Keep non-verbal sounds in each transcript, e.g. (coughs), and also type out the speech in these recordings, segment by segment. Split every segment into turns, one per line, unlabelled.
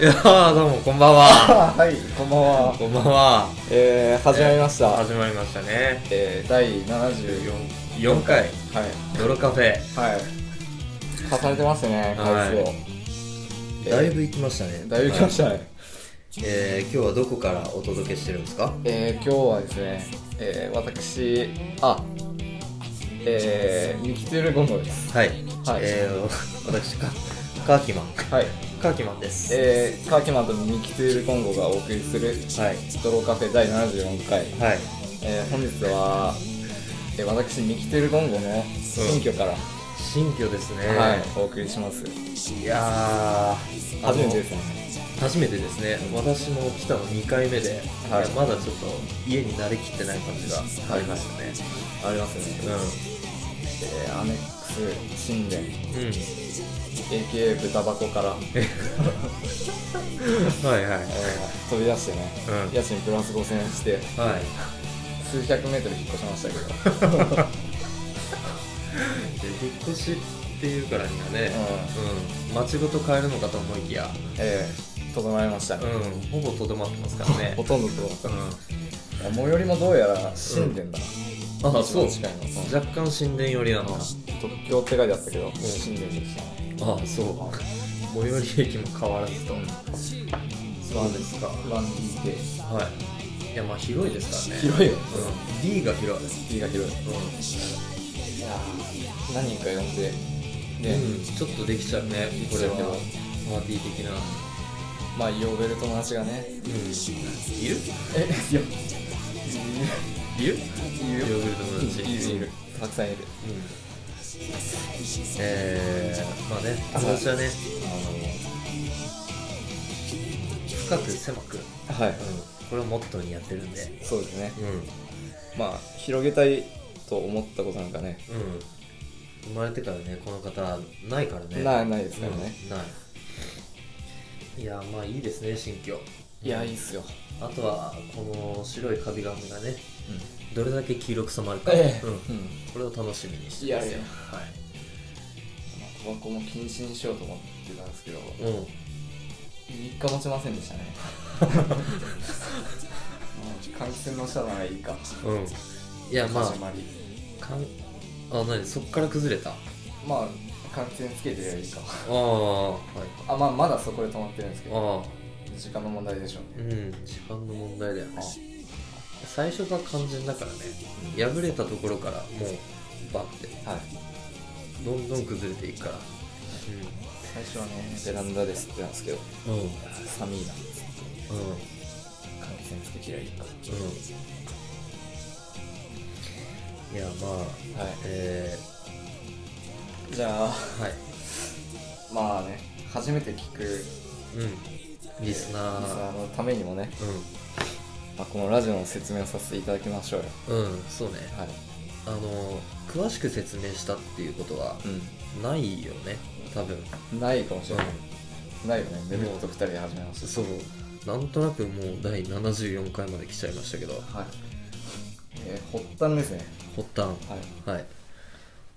いやーどうもこんばんは
あはい、こんばんは。
こんばんは
えー、始まりました。
始まりましたね
えー、第74
4回
回。
泥カフェ
はい。はい。重ねてますね、
は
回
い
数を。えー
だいぶ行きましたね
だいぶ来ましたね。
えー、今日はどこからお届けしてるんですか
えー、今日はですね、えー、私、あ、えー、ミキトゥルゴンドです。
はい、
はい
えー、私かカーキマン
はい。
カーキマンです
えー、カーキマンとミキトゥルゴンゴがお送りする、
はい
ドローカフェ第74回。
はい
えー、本日は、えー、私、ミキトゥルゴンゴの新居から、
新居ですね、
はい、お送りします。
い、やー
初めてですね。
あの初めてですね私も来たの2回目で、
はい
まだちょっと家に慣れきってない感じがありましたね、
ありますね。えーアネックス神殿
うんうん
AKA 豚箱から、
(laughs) はいはい
えー飛び出してね、
うん
家賃プラス5000円して
はい
数百メートル引っ越しましたけど
で引っ越しっていうからにはね、うん街ごと変えるのかと思いきや、
えー整えました、ね
うん、ほぼとどまってますからね (laughs)
ほ、とんど整った
うん、
いや最寄りもどうやら神殿だな、
あそう
一番近いの、
若干神殿寄りなの
特許って書いてあったけど、神殿でしたね
ああそう最寄り駅も変わらずとそうですか
1DK
はいいやまあ広いですからね
広いよ
うん、D が広い、うん
D が広いいやー何人か呼んでね、
うん、ちょっとできちゃうねこれは
でも
パーティー的な、う
まあ呼べる友達が
ん、
ね
いる
えいや
いるヨ
いるよ
ーグルト友達
いるたくさんい
う
る
んえー、まあね友達はね深く狭く、うん、
あのはい
これをモットーにやってるんで
そうですね
うんうん
まあ広げたいと思ったことなんかね
生まれてからねこの方ないからね
ないいないですからね、、
うんないいやーまあいいですね新居
いやいいっすよ、
あとはこの白いカビガメがね
うん、
どれだけ黄色く染まるか、
ええ
うん
うん
これを楽しみにして
いやいや
は
まあタバコも禁止にしようと思ってたんですけど
い、うん、
3日持ちませんでしたねうん換気扇の下ならいいか
うん、いやま
始
あ
まり
かんあ何そっから崩れたあ
まあ換気扇つけてりゃいいか
あはい
あまあまだそこで止まってるんですけ
あ
ど
あ
時間の問題でしょうね
うん時間の問題だよね
あ
最初が肝心だからね破れたところからもうバッて
はい
どんどん崩れていくから
最初はねベランダですってなんですけど
うんうんうん
寒いな換気扇つけてりゃいいか
いやまあ
はい
え
じゃあ
ー、はい
まあね初めて聞くリ
うんリスナ
スナ
ー
ーのためにもね、まあ、このラジオの説明をさせていただきましょうよ
うんうんそうね
はい
あの詳しく説明したっていうことはないよね多分
うんないかもしれない、ないよねベルトと2人で始めまし
そうなんとなくもう第74回まで来ちゃいましたけど
たはいえー、発端ですね
発端
はい
はい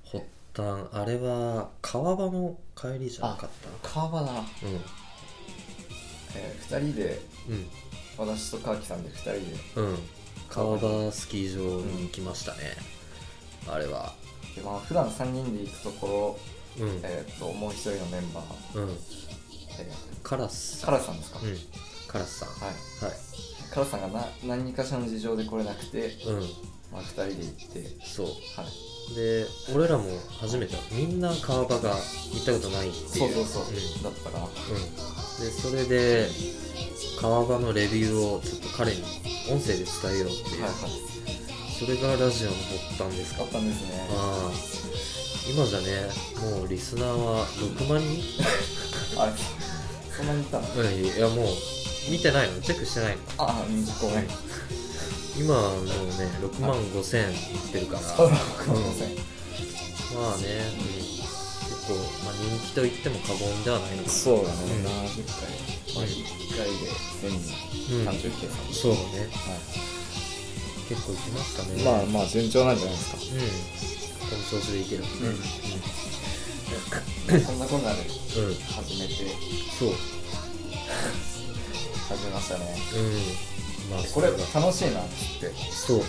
発端あれは川場の帰りじゃなかっ
川場だな、
たうん
えー、2人で
うん
私と川木さんで2人で
うん川場スキー場に行きましたね、あれは
でまあ普段3人で行くとこ
うん
ろ、えー、ともう1人のメンバー、
うん
え
カラスさん
ー、カラスさんですか、
うんカラスさん
はい
はい
カラスさんがな何かしらの事情で来れなくて、
うん
まあ、2人で行って
そう
はい
で俺らも初めてみんな川場が行ったことないっていう
そうそうそう、
ん
だったから
うん、でそれで川場のレビューをちょっと彼に音声で伝えようっていう、
はいはい
それがラジオの発端ですか
あったんですね
ああ今じゃねもうリスナーは6万人
あれそんなにいた
う
の
んいやもう見てないのチェックしてないの
ああうんごめん
今はもうね6万5千いってるから
あごめんなさい
まあね、うん結構、まあ、人気と言っても過言ではないのかな
そうだね
うん
70回まあ1回で
うん
1030計算
そうね
は
結構行きましたね
いまあまあ順調なんじゃないです
う
か
んこの調子でいける、うん
そんなこんなで
うん
始めて
そううん
始めましたね
まあ
これ
そが
楽しいなっつって、
そう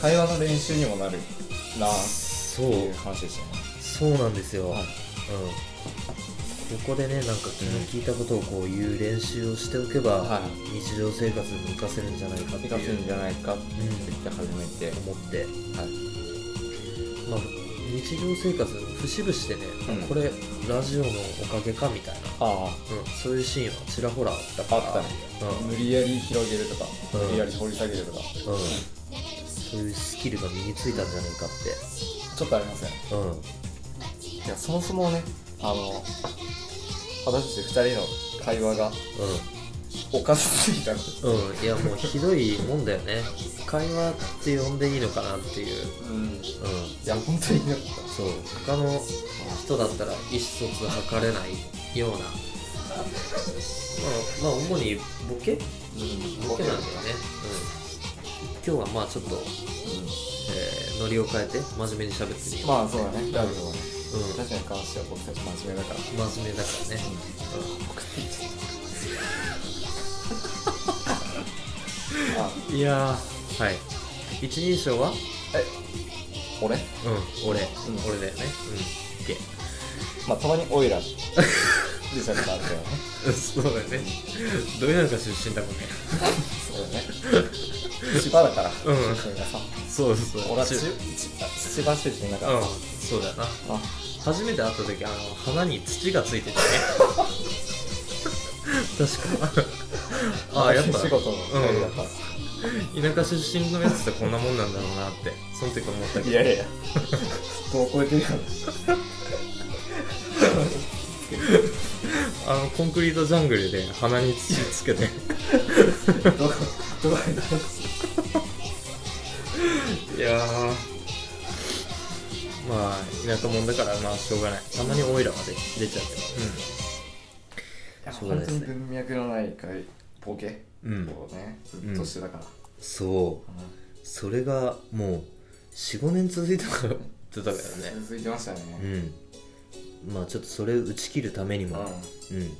会話の練習にもなるな
そ
って
う
いう話でしたね
そうなんですよ、
はい
うんここでねなんか気の利いたことをこう言う練習をしておけば、
は
日常生活に活かせるんじゃないかって
生かせ
い
る
う
んじゃないかって言って始めて、
思って、
はい
まあ、日常生活節々でね、
うん
これラジオのおかげかみたいな、
あ
うん、そういうシーンはちらほらあったから
あったねあ無理やり広げるとか、
うん
無理やり掘り下げるとか
うんうん、そういうスキルが身についたんじゃないかっ
ちょっとありません
てうん
いやそもそもねあの私たち2人の会話がおかしすぎたんで
うん、うん、いやもうひどいもんだよね会話って呼んでいいのかなっていう
うんい
うん
や本当になかっ
そう他の人だったら意思疎通図れないようなまあまあ主にボケ
た
ボケなんだよね、うん、今日はまあちょっと、
う
えーノリを変えて真面目に喋ってみよう、
んまあそうだねラジオはね
うん
確かに関しては僕たち真面目だから
真面目だからね、
あ
いやはい一人称は
え俺
うん俺、俺だ
ん
よねうんオッケー
まあたまにオ (laughs) イラ自社とかあるからね
そうだよねどういうなんか出身だもんね
そうだね千葉だから
うん
出身がさ
そうそう
俺は
ち
千葉千葉出身だから
う
さ
んそうだよな
あ
初めて会った時あの花に土がついててね (laughs) 確かああやっぱ
仕事の帰りだから
田舎出身のやつってこんなもんなんだろうなってその時思ったけ
い
ど
やいやいや、どう超えてるよ。
あのコンクリートジャングルで鼻に土つけて
どこ、どこに
いやーまあ田舎もんだからまあしょうがないたまにオイラまで出ちゃうけそう
本
で
当
す
に
ね
文脈のない回、ボケ
どうん、
をね、ずっとしてたから。
そうそれがもう45年続いたからってたからね
続いてましたね。
うんまあちょっとそれ打ち切るために
うん
も、うん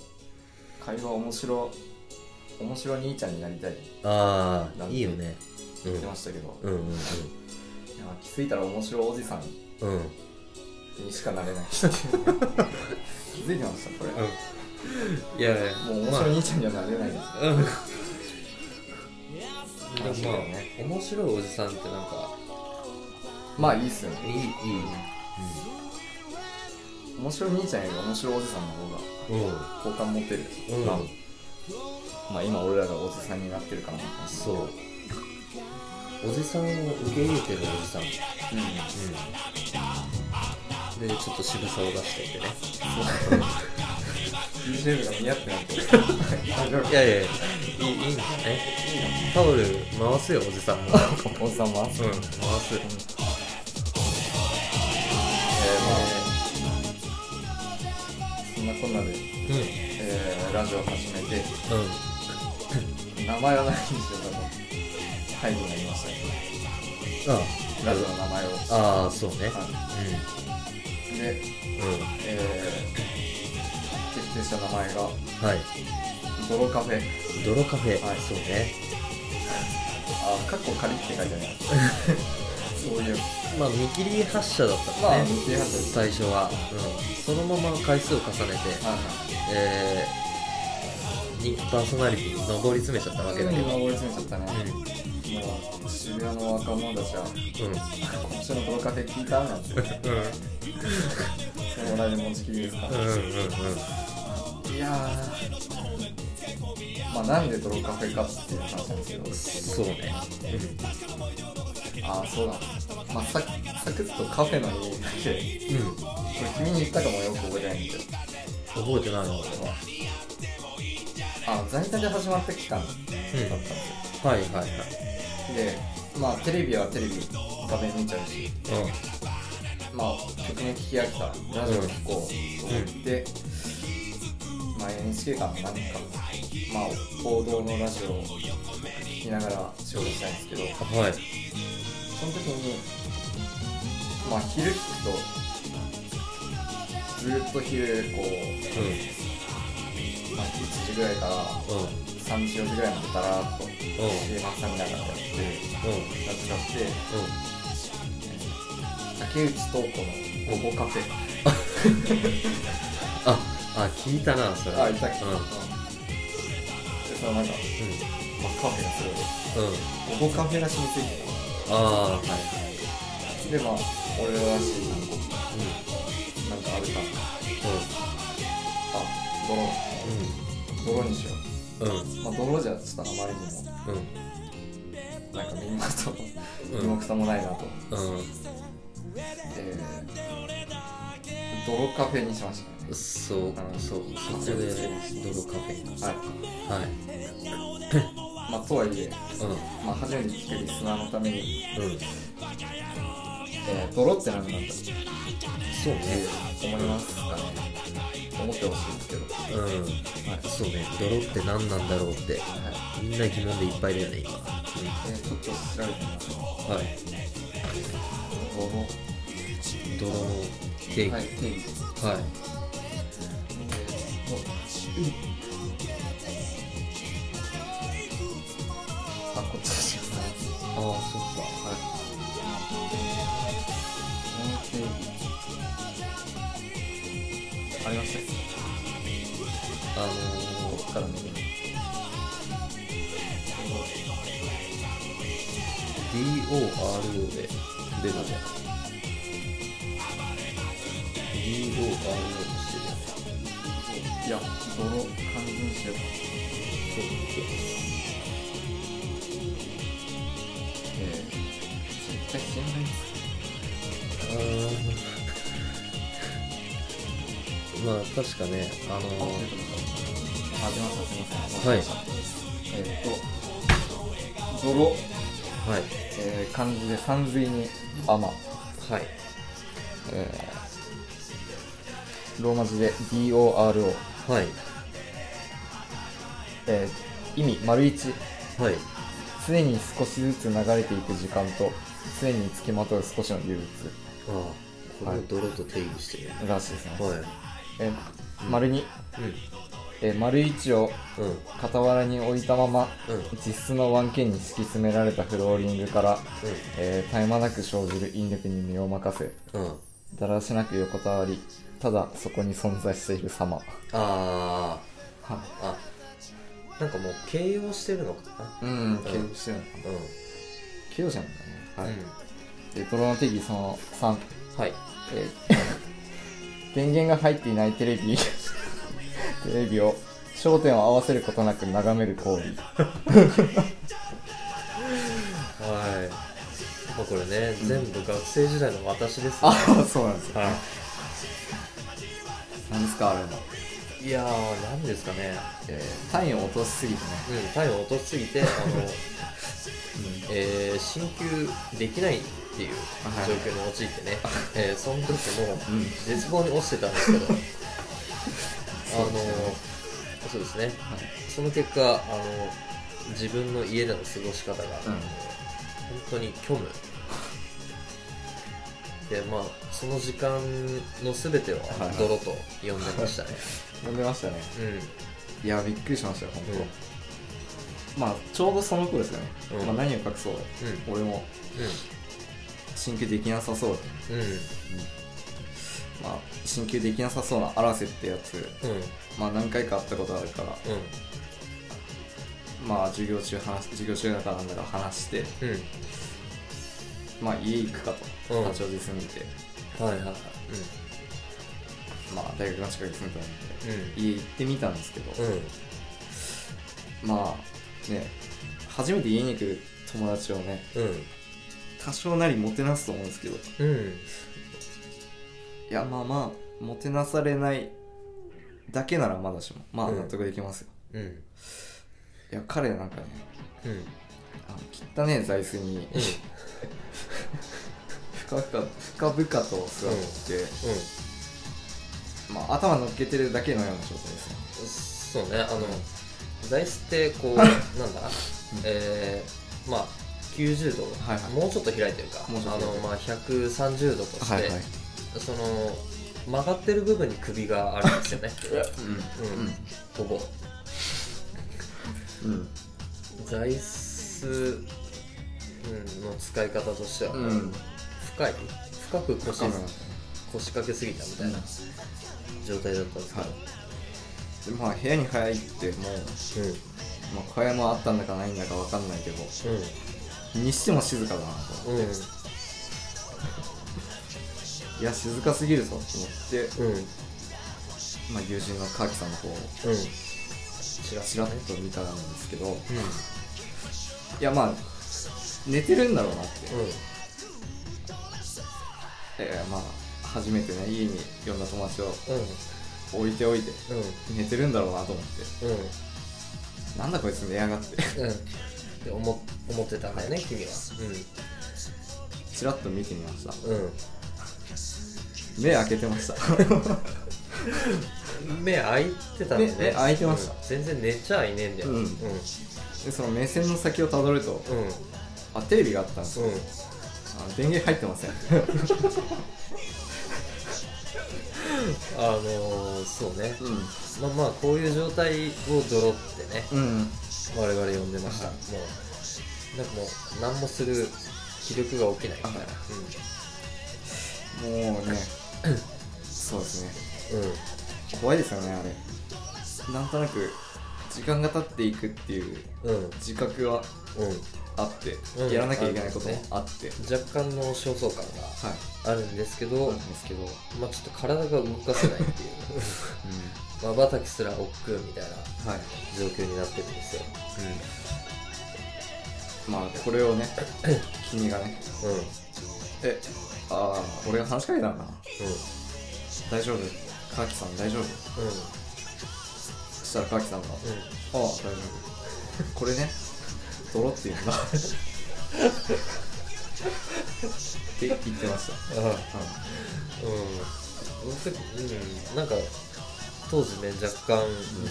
会話面白、面白兄ちゃんになりたいって
あ
な
あ
んて
いいよねうん
言ってましたけど、
うんうん
いや気づいたら面白おじさん
うんうん
にしかなれない人っていうね気づいてました、これ。も
いやいや
う面白い兄ちゃんにはなれないです。
まあうんで
話
も
だ
ま
よ
あ
ね
面白いおじさんってなんか
まあいいっすよ
いい
ね。
いい
面白い兄ちゃんより面白いおじさんの方が
うんうん
好感持てる。
うん
まあまあ今俺らがおじさんになってるからね
そうおじさんを受け入れてるおじさんうん
うん
でちょっと渋さを出していてね
BGM が似合ってないけど大丈
いやいやいやいいいいんだねタオル回すよおじさんもうん
夫おじさんは
回す
えー、そんなこんなで、
う
えー、ラジオ始めて
んうん
名前は何にしようかと会議になりましたね
あ
ラジオの名前を
ああそうね
は
う
いで
んうん
えー、決定した名前が
はい
泥カフェ
泥カフェ、
はい
そうね
あカッコ仮って書 (laughs) いてあるやつそういう
まあ見切り発車だったのね、
まあ見切り発車
最初は、うん、そのまま回数を重ねて、
はい
えー、人気パーソナリティに上り詰めちゃったわ
はい
けだけど、うん
今追い詰めちゃったね、もう渋谷の若者たちは今週のこのカフェ聞いたなんて
うん
友達に持ちきりですか、
うんうんうん
いやーまあなんで泥カフェかっていう話なんです
そうね、
けどああそうだまあさサクッとカフェの意味だけ
うん、うん、
これ君に言ったかもよく覚えてないんだけど
覚えてないの俺は
あ在宅で始まった期間だったんですよ、
はいはいはい
でまあテレビはテレビ画面見ちゃうしまあ曲も聴き飽きたラジオ聴こうと思って、まあ NHK かななんかまあ王道のラジオを聞きながら仕事したいんですけど
うんはい
その時にままあ昼聞くとずーっと昼こう、まあ、1時ぐらいから
うんうん
3時4時ぐらいまでだらーっと
うん
週末さみながらや
う
って懐かして竹内東子のゴボカフェ
んああ聞いたなそれ
あいたっけ、
うん
うん、でそのなんか、
う
まあ、カフェがすごい
んうん
ゴボカフェらしいについ
ああはい
てでまあ俺らしいなんかあれか
う
あ泥泥にしよ
んうんうん
うまあ泥じゃちょっとあまりにもなんかみんなと
うん
身も蓋もないな
う
と、
ん
えー、泥カフェにしましたね
うんそうそうそこで泥カフェ
はい
はい
まあとはいえ、
う
まあ、初めて聞くリスナーのために、
んうん
えー、泥って何なんだろうって
そうね
思いますかね思ってほしいんですけどは
うんそうね泥って何なんだろうって
いはい
みんな疑問でいっぱいだよね今
えー、ちょっと調べてみます
うんはい
泥
泥の定義
は
はいい
定義あこっちですよね
ああそっか
はい定義ありましたこ
あの
こから見る
DORO で出るじゃん DORO してるやつ
いや泥完全にしようえー、絶対知らないです
まあ確かねあ
あ、出てます。あ、出ました。すみません。
の
はい。えっと、泥、
はい
えー、漢字で三髄に甘、
はい
えー、ローマ字で DORO、
はい
えー、意味丸一、
はい
常に少しずつ流れていく時間と、常につきまとう少しの憂鬱
ああこれ
は
を
い
泥と定義してる
らしいですね。
はい
えー、丸二、えー、丸一を
うんうん
傍らに置いたまま、
うん
実質のワンケンに敷き詰められたフローリングから、えー絶え間なく生じる引力に身を任せ
うんうん
だらしなく横たわりただそこに存在している様
あ
は
ああなんかもう形容してるのかな
うん
形容
してるのか
うん
形容じゃないんだねは
う
い、
ん
で泥の定義その3
はい
えー (laughs) 電源が入っていないテレビ (laughs) テレビを焦点を合わせることなく眺める行為
はいまあこれね、全部学生時代の私ですね
ああそうなんですよ
は
何ですかあれも、
いいやー何ですかね
えー、単位を落としすぎてね、
うん体温落としすぎ (laughs) てあのえー、進級できないっていう
はい
状況に陥ってね、えーその時も
うん
絶望に落ちてたんです (laughs) けど、あのそうですね、その結果あの、自分の家での過ごし方が、あの本当に虚 (laughs) 無。でまあ、その時間のすべてを
はい
泥と呼んでましたね。
呼んでましたねいやびっくりしましたよ本
うん、うん、
当、まあちょうどその子ですよね、
うん
まあ、何を隠そう、
う
俺も進級できなさそう
うん、
まあ進級できなさそうな荒瀬ってやつ
うん、うん、
まあ何回か会ったことあるからまあ授業中話授業中だからなんだから話して
うん、
まあ家行くかと、
うん
八王子住んでて
うん、はいはいはい、
まあ大学の近くに住んでたんで
うん、うん。
家行ってみたんですけど、
う
まあね初めて家に行く友達をね
ん
多少なりもてなすと思うんですけどい
うんうん
やまあまあもてなされないだけならまだしもまあ
うん
納得できますよ、
うん
いや彼なんかね
うん
あの汚ねえ座椅子に (laughs) 深々深々と座って、まあ、頭乗っけてるだけのような状態ですね
そうねあの座椅子ってこうなんだえーまあ90度、
はいはい
もうちょっと開いてるか
もうちょっ
あ
と
の、まあ、130度として、
はいはい
その曲がってる部分に首があるんですよ
(laughs)
ね、うんほぼ
うんうん
座椅子うんの使い方としては、
うんうん
深い深く腰
カメラ
腰掛けすぎたみたいな状態だったんですけど、
はいでまあ部屋に入っても
うん
う、まあ、小屋もあったんだかないんだかわかんないけどにしても静かだなと
うん
いや静かすぎるぞと思って、
うんうん
まあ、友人の川木さんの方を
うんちら
ちらっと見たんですけど
うん
いやまあ寝てるんだろうなって、
うん
えーまあ初めてね家に呼んだ友達を
う
置いておいて
ん
寝てるんだろうなと思って
うんうん
なんだこいつ寝やがって
うんって思思ってたんだよね君は
ちらっと見てみました
うん
目開けてました
うん目開いてたんだよね
目目開いてました
うん全然寝ちゃいねえんだよ
うん
うん
でその目線の先をたどると
うん
あテレビがあったんですよ
うん
あ電源入ってません
あのー、そうね
う
まあまあこういう状態をドロってね
んうん
我々呼んでました、
はい
もうなんかもう何もする気力が起きないみたいな
はもうね (coughs) そうですね
うんうん
怖いですよねあれなんとなく時間が経っていくっていう
うん
自覚はあって、
うん
やらなきゃいけないこともあって、
若干の焦燥感
はい
があるんですけど、
なんですけど、うん、
まあちょっと体が動かせないっていうまばたきすら億劫みたいな
はい
状況になってるんですよ
まあこれをね君がね
うんうん
えああ俺が話しかけたのかな大丈夫川木さん大丈夫
うん
そしたら川木さんが「あ
う
あ大丈夫これね泥っていうんだ」って言ってまし
んああ
た、は
うんその時うんなんか当時ね若干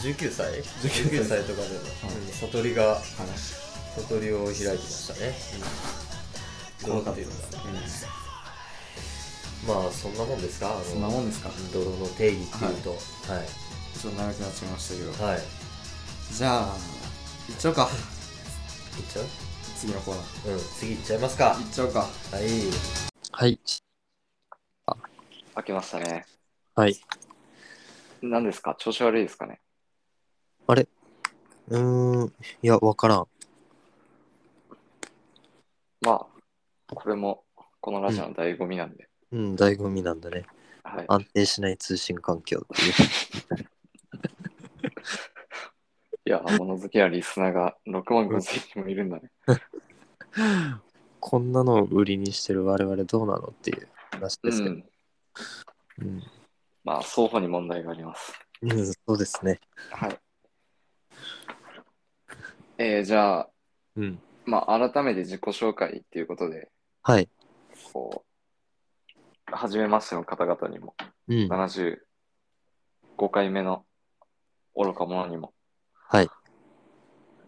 19歳、19歳とかでも、うん悟りが
いはい
悟りを開いてましたね、
怖かった
い
で
う
す
のがまあそんなもんですかあの
そんなもんですか
泥の定義っていうとはい
ちょっと長くなっちゃいましたけど
はい、
じゃあ行っちゃおうか
いっちゃう
次のコーナー
うん次いっちゃいますか
行っちゃおうか
はい
はい開けましたね
はい。
何ですか調子悪いですかね
うーん。いや、わからん。
まあこれもこのラジオの醍醐味なんで、
うん、醍醐味なんだね。
はい
安定しない通信環境っていう。 (laughs)
いや物好きなリスナーが6万5千人もいるんだね
こんなのを売りにしてる我々どうなのっていう話
う
ですけど。
ん
うん。
まあ双方に問題があります
うん、そうですね。
はいえー、じゃあ
うん。
まあ改めて自己紹介っていうことで
はい。
こう初めましての方々にも
うん。
75回目の愚か者にも、
はい。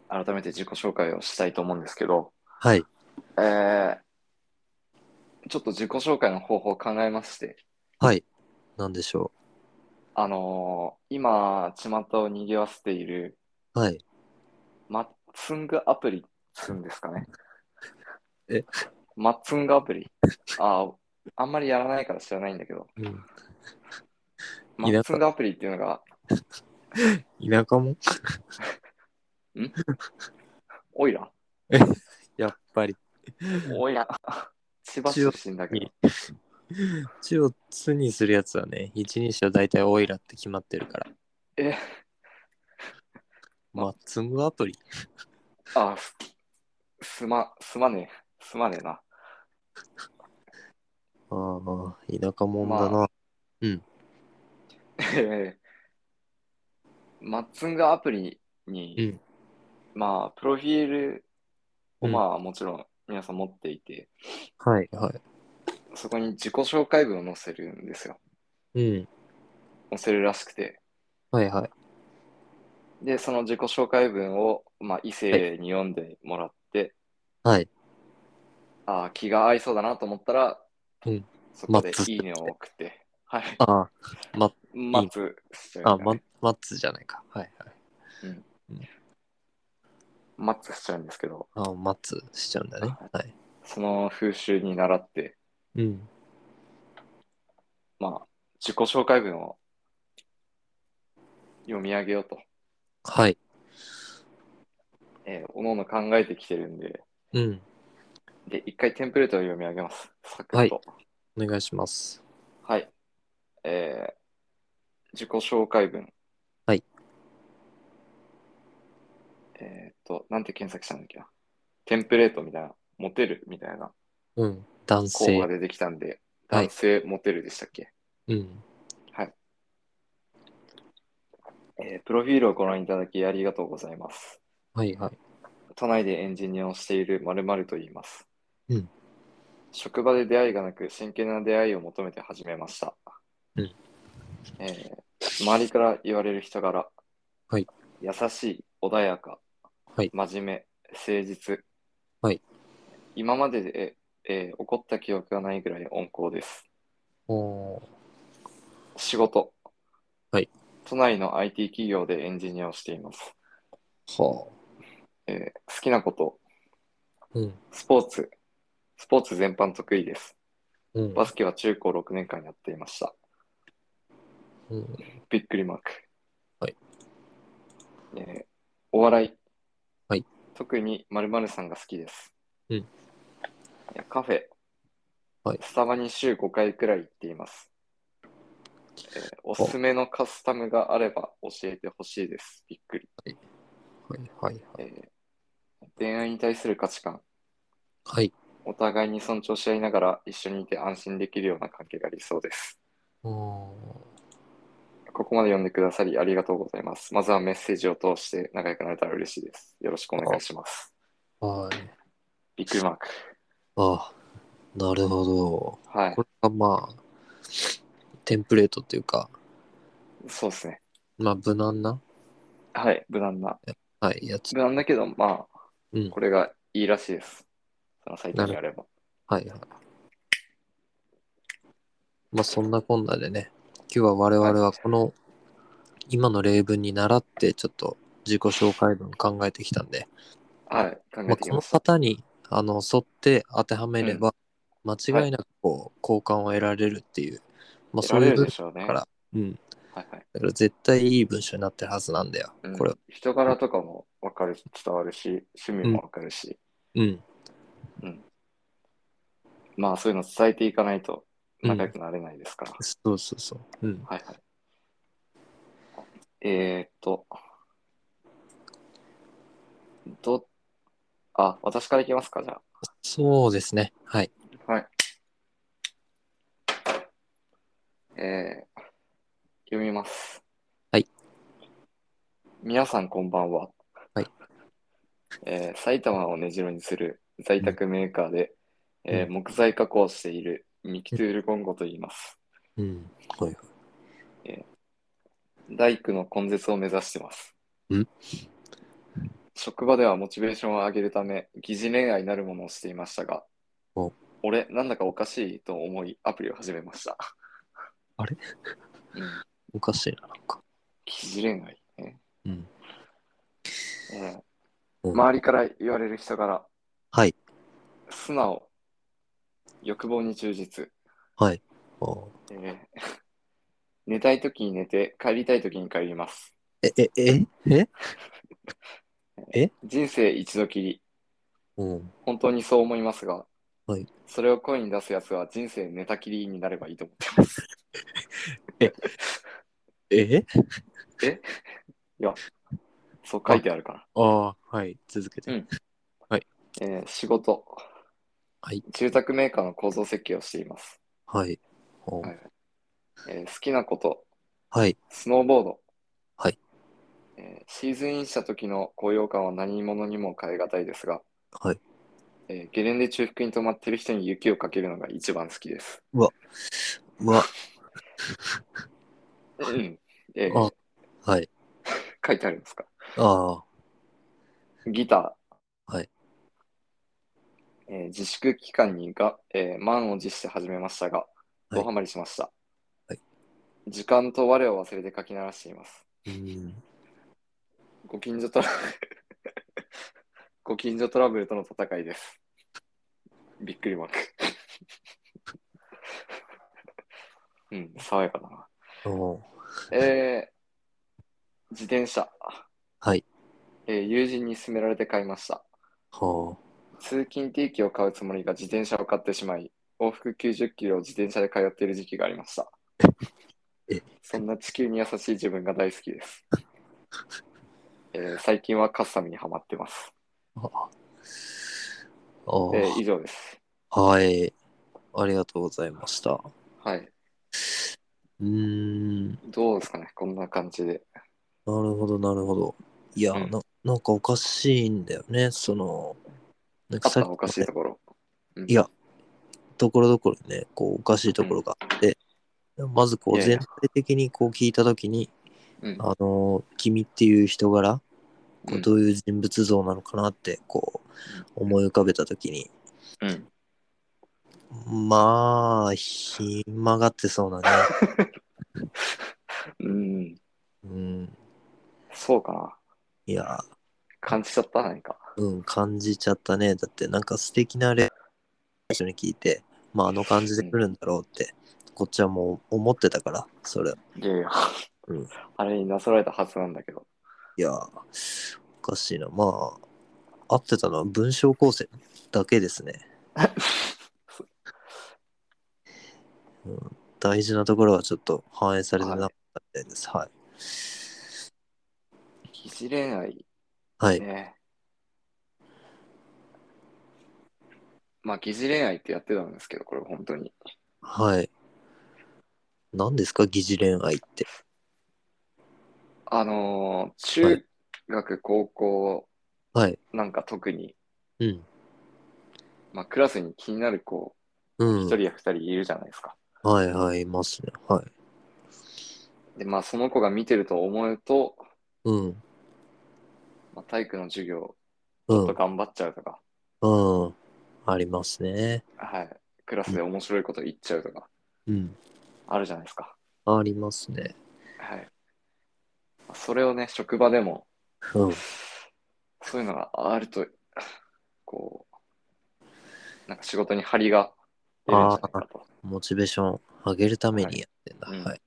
改めて自己紹介をしたいと思うんですけど、
はい。
えー、ちょっと自己紹介の方法を考えまして、
はい。なんでしょ
あのー、今、巷を賑わせている
う。はい。
マッツングアプリっつうんですかね。
(laughs) え
マッツングアプリああ、あんまりやらないから知らないんだけど、
うん。
マッツングアプリっていうのが
田舎も
オイラ
やっぱり。
おや、千葉出身だけど。
血をつにするやつはね、一人称大体オイラって決まってるから。 (laughs)
え、
マッツングアプリ
あ、すすま、すまねえ、すまねえな。 (laughs)
ああ、田舎もんだな。
まえーマッツンがアプリに、
うん
まあ、プロフィールを
うん
まあ、もちろん皆さん持っていて、
はい。はい。
そこに自己紹介文を載せるんですよ。
うん。
載せるらしくて。
はいはい。
で、その自己紹介文を、まあ、異性に読んでもらって、
はい。
あー気が合いそうだなと思ったら、
うん
そこで
待つ
いいねを送って、はい、
あ
(laughs) 待つっすよね
あ、あ、ま、マッツじゃないか。はいはい。
待つしちゃうんですけど、
あ、マッツしちゃうんだね。はい。
その風習に習って、
うん。
まあ、自己紹介文を読み上げようと、
はい。
えー、おのおの考えてきてるんで、
うん。
で、一回テンプレートを読み上げます。サク
は
ッ
い
と。
お願いします。
はい。えー、自己紹介文。
はい。
えーっと、なんて検索したんだっけな。テンプレートみたいな、モテるみたいな
うん。男
候補
性
が。出てきたんで、
はい
男性モテるでしたっけ、
うん。
えープロフィールをご覧いただきありがとうございます。
はいはい。
都内でエンジニアをしている〇〇と言います。
うん
職場で出会いがなく、真剣な出会いを求めて始めました。
うん
えー周りから言われる人柄、
はい
優しい、穏やか、
はい
真面目、誠実、
はい
今までで、えー、怒った記憶がないぐらい温厚です。
おー
仕事、
はい
都内の IT 企業でエンジニアをしています。
は
えー好きなこと、
あ。うん。
スポーツ、スポーツ全般得意です。
うん。
バスケは中高6年間やっていました。
うん
びっくりマーク。
はい。
えーお笑い。
はい。
特に〇〇さんが好きです。
うん
いや。カフェ。
はい
スタバに週5回くらい行っています。えーおすすめのカスタムがあれば教えてほしいです。びっくり。
はいはいはい。
えー恋愛に対する価値観。
はい。
お互いに尊重し合いながら一緒にいて安心できるような関係が理想です。
お
ここまで読んでくださりありがとうございます。まずはメッセージを通して仲良くなれたら嬉しいです。よろしくお願いします。
ーはい。
びっくりマーク。
ああ。なるほど。
はい
こ。れがまあ、テンプレートっていうか、
そうですね。
まあ、無難な、
はい。無難な。
はい、やつ。
無難だけど、まあ、
うん。
これがいいらしいです。そのサイトにあれば。
はいはい。まあそんなこんなでね、今日は我々はこの今の例文に倣ってちょっと自己紹介文考えてきたんで、
はい。考
ま
え
あ、
て
こ
き
の
ました。
方にあの沿って当てはめれば、間違いなくこう好感を得られるっていう、まあ
得
そ
ら
ういう
れる
文
で
章
しょうね。
だか
は
ら、うん。
いはい
だから絶対いい文章になってるはずなんだよ、
うん
これ。
人柄とかも分かるし、伝わるし、趣味も分かるし、
うん。
まあそういうの伝えていかないと仲良くなれないですから。
そうそうそう。うん。
はいはい。えー、っと、ど、あ、私からいきますか、じゃ
そうですね。はい。
あ。はい。えー、読みます。
はい。
皆さん、こんばんは。
はい。
えー、埼玉を根城にする在宅メーカーで、え
う
ー木材加工をしているミキトゥールゴンゴと言います。
うん。はいはい。
大工の根絶を目指してます。
ん
職場ではモチベーションを上げるため、疑似恋愛なるものをしていましたが
お、
俺、なんだかおかしいと思い、アプリを始めました。
あれ
うん
おかしいな、なんか。
疑似恋愛、ね
うん。
え
う
ー
ん
周りから言われる人柄、
はい。
素直、欲望に忠実、
はい。あー
え (laughs) ー寝たい時に寝て、帰りたい時に帰ります。
え、え、え、え
人生一度きり、
うん。
本当にそう思いますが、
はい
それを声に出すやつは人生寝たきりになればいいと思ってます。 (laughs)
え
そう書いてあるから。
ああ、はい。続けて。
うん
はい
えー仕事、
はい
住宅メーカーの構造設計をしています、
はい。お
はいえー好きなこと、
はい。
スノーボード。
はい
えーシーズンインした時の高揚感は何者にも変え難いですが、
はい。
えーゲレンデ中腹に止まってる人に雪をかけるのが一番好きです。
うわ、
うんえー
あはい。
書いてありますか
ああ、
ギター。
はい。
えー自粛期間にが、えー満を持して始めましたが、
はい
ドハマりしました、
はい
時間と我を忘れて書き鳴らしています。
うん。
ご近所トラブル (laughs) ご近所トラブルとの戦いです。びっくりマーク。 (laughs) うん、爽やかだな。
おー
えー、自転車。
はい。
えー友人に勧められて買いました。
は
通勤定期を買うつもりが自転車を買ってしまい、往復90キロを自転車で通っている時期がありました
(laughs) え。
そんな地球に優しい自分が大好きです。えー最近はカッサムにはまってます。
あ。あ
えー以上です。
あ。はい。ありがとうございました。う
はい。
ーん。な
どうですかね、こんな感じで。
るほど、なるほど。いや、
うん
な、なんかおかしいんだよね。その、なん
カ
か
ッサ
さっ
ムおかしい
き
ところ。うん
いやところどころね、こう、おかしいところがあって、まずこう、
いやいや
全体的にこう聞いたときに、
うん
あの君っていう人柄こ
う
うんどういう人物像なのかなってこう思い浮かべた時に
うん。
まあひん曲がってそうなね (laughs)
うん。
うん
そうかな。
いや
感じちゃった何か。
うん感じちゃったねだってなんか素敵なレ一緒に聞いてまああの感じで来るんだろうってこっちはもう思ってたからそれ
いやいや
うん。
(laughs) あれになぞられたはずなんだけど。
いやおかしいなまあ合ってたのは文章構成だけです
(laughs)
ね大事なところはちょっと反映されてなかったみたいですはい
疑似恋愛
はい、
ねまあ疑似恋愛ってやってたんですけどこれ本当に
はい。何ですか、疑似恋愛って。
あのー
は
中
い
学、高校
はい。
なんか特に、
うん。
まあ、クラスに気になる子
う
一
ん。
人や二人いるじゃないですか、
はいはい、いますね。はい。
でまあその子が見てると思うと、
うん。
まあ、体育の授業
う
ちょっと
ん。
頑張っちゃうとか、
うん。ありますね。
はいクラスで面白いこと言っちゃうとか
うん。
あるじゃないですか
ありますね。
はいまあそれをね職場でも
うん。
そういうのがあると、こう、なんか仕事に張りが出るんじゃないかと。
モチベーション上げるためにやってんだ。
はいうん
はい。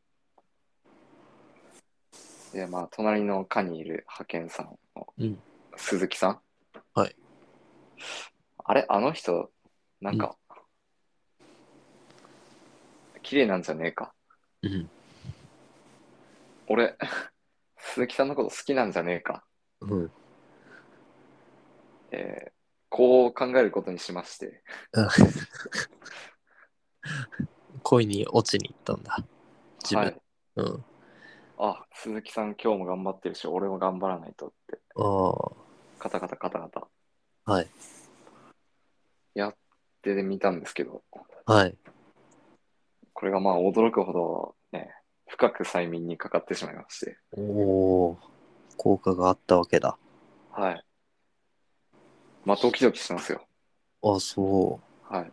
で、まあ、隣の課にいる派遣さんの、
うん
鈴木さん。
はい。
あれ、あの人、なんか、綺麗なんじゃねえか。
うん。
俺、 (laughs) 鈴木さんのこと好きなんじゃねえか。
うん。
えーこう考えることにしまして、
恋に落ちに行ったんだ。自分。
はい。
うん。
あ、鈴木さん今日も頑張ってるし、俺も頑張らないとって。
ああ。
カタカタカタカタ。
はい。
やってみたんですけど、
はい。
これがまあ驚くほどね、深く催眠にかかってしまいまして、
おお。効果があったわけだ。
はい。まあドキドキしますよ。
あ、そう。
はい。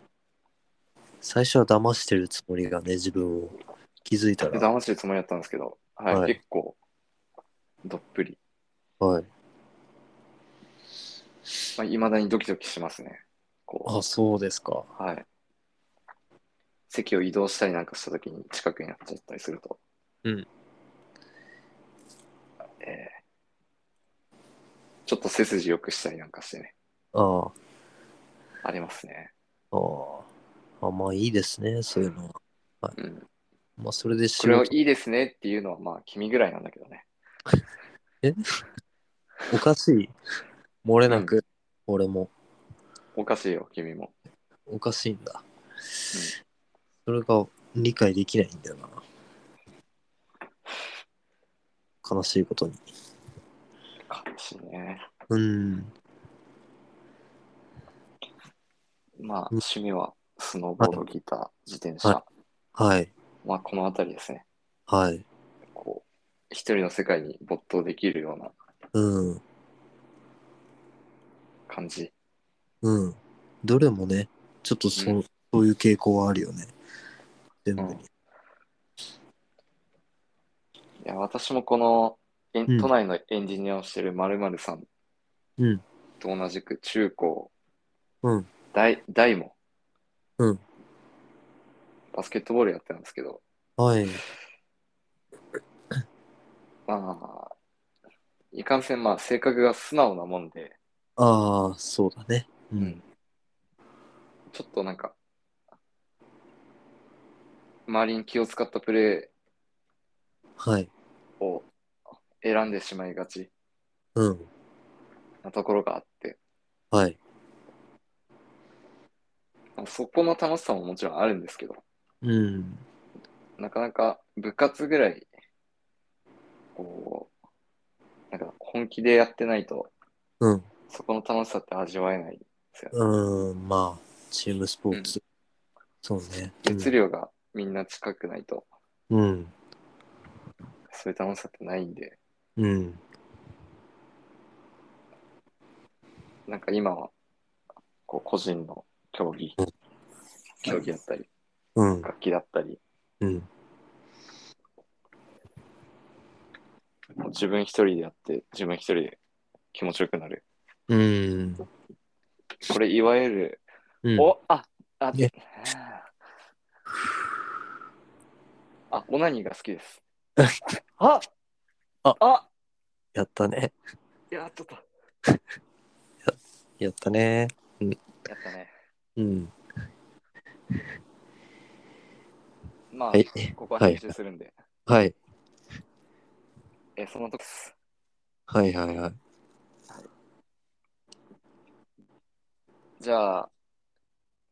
最初は騙してるつもりがね、自分を気づいた
で、
ら。
騙してるつもりだったんですけど、はい、
はい
結構、どっぷり。
はい。
まあ、未だにドキドキしますね。こ
あ、そうですか。
う、はい。席を移動したりなんかした時に近くになっちゃったりすると。
うん。
えーちょっと背筋よくしたりなんかしてね。
あ
ありますね。
あ、ああ。あまあいいですね、そういうのは。
うん。
まあそれで仕
これを
事
いいですねっていうのはまあ君ぐらいなんだけどね。
おかしい。漏れなく、俺も
おかしいよ、君も。
おかしいんだ。それが理解できないんだよな。悲しいことに。
悲しいね。
うん。
まあ
うん
趣味はスノーボード、ギター、自転車。
ははい。
まあこのあたりですね。
はい。
こう、一人の世界に没頭できるような
うん。
感じ。
うん。どれもね、ちょっとそう,、
う
そういう傾向はあるよね。全部に。
いや、私もこの、えん
うん
都内のエンジニアをしてるまるさん
うん
と同じく中高、
うん
大大も、
うん
バスケットボールやってたんですけど、
はい。
まあ、いかんせん、まあ、性格が素直なもんで、
ああ、そうだね。う
うん。ちょっとなんか、周りに気を使ったプレ
はい。
ーを選んでしまいがち
うん。
なところがあって、
はい。
まあそこの楽しさももちろんあるんですけど、
うん。
なかなか部活ぐらい、こう、なんか本気でやってないと、
うん。
そこの楽しさって味わえない。
うん。まあ、チームスポーツ。そうね。
熱量がみんな近くないと、
うん。
そういう楽しさってないんで、
うん。
なんか今は、こう、個人の競技
うん、
競技だったり、
うん。
楽器だったり、
うん。
もう自分一人でやって、自分一人で気持ちよくなる。
うん。
これ、いわゆる、
うん。
おああ
ね
あ、オナニーが好き
(laughs)
です。あああ
やったね。
やっちゃった。
やったね。
やったね。
うん。
まあ、
はい
ここは編集するんで。
はい。
え、そのとこです。
はいはいはい。
じゃあ、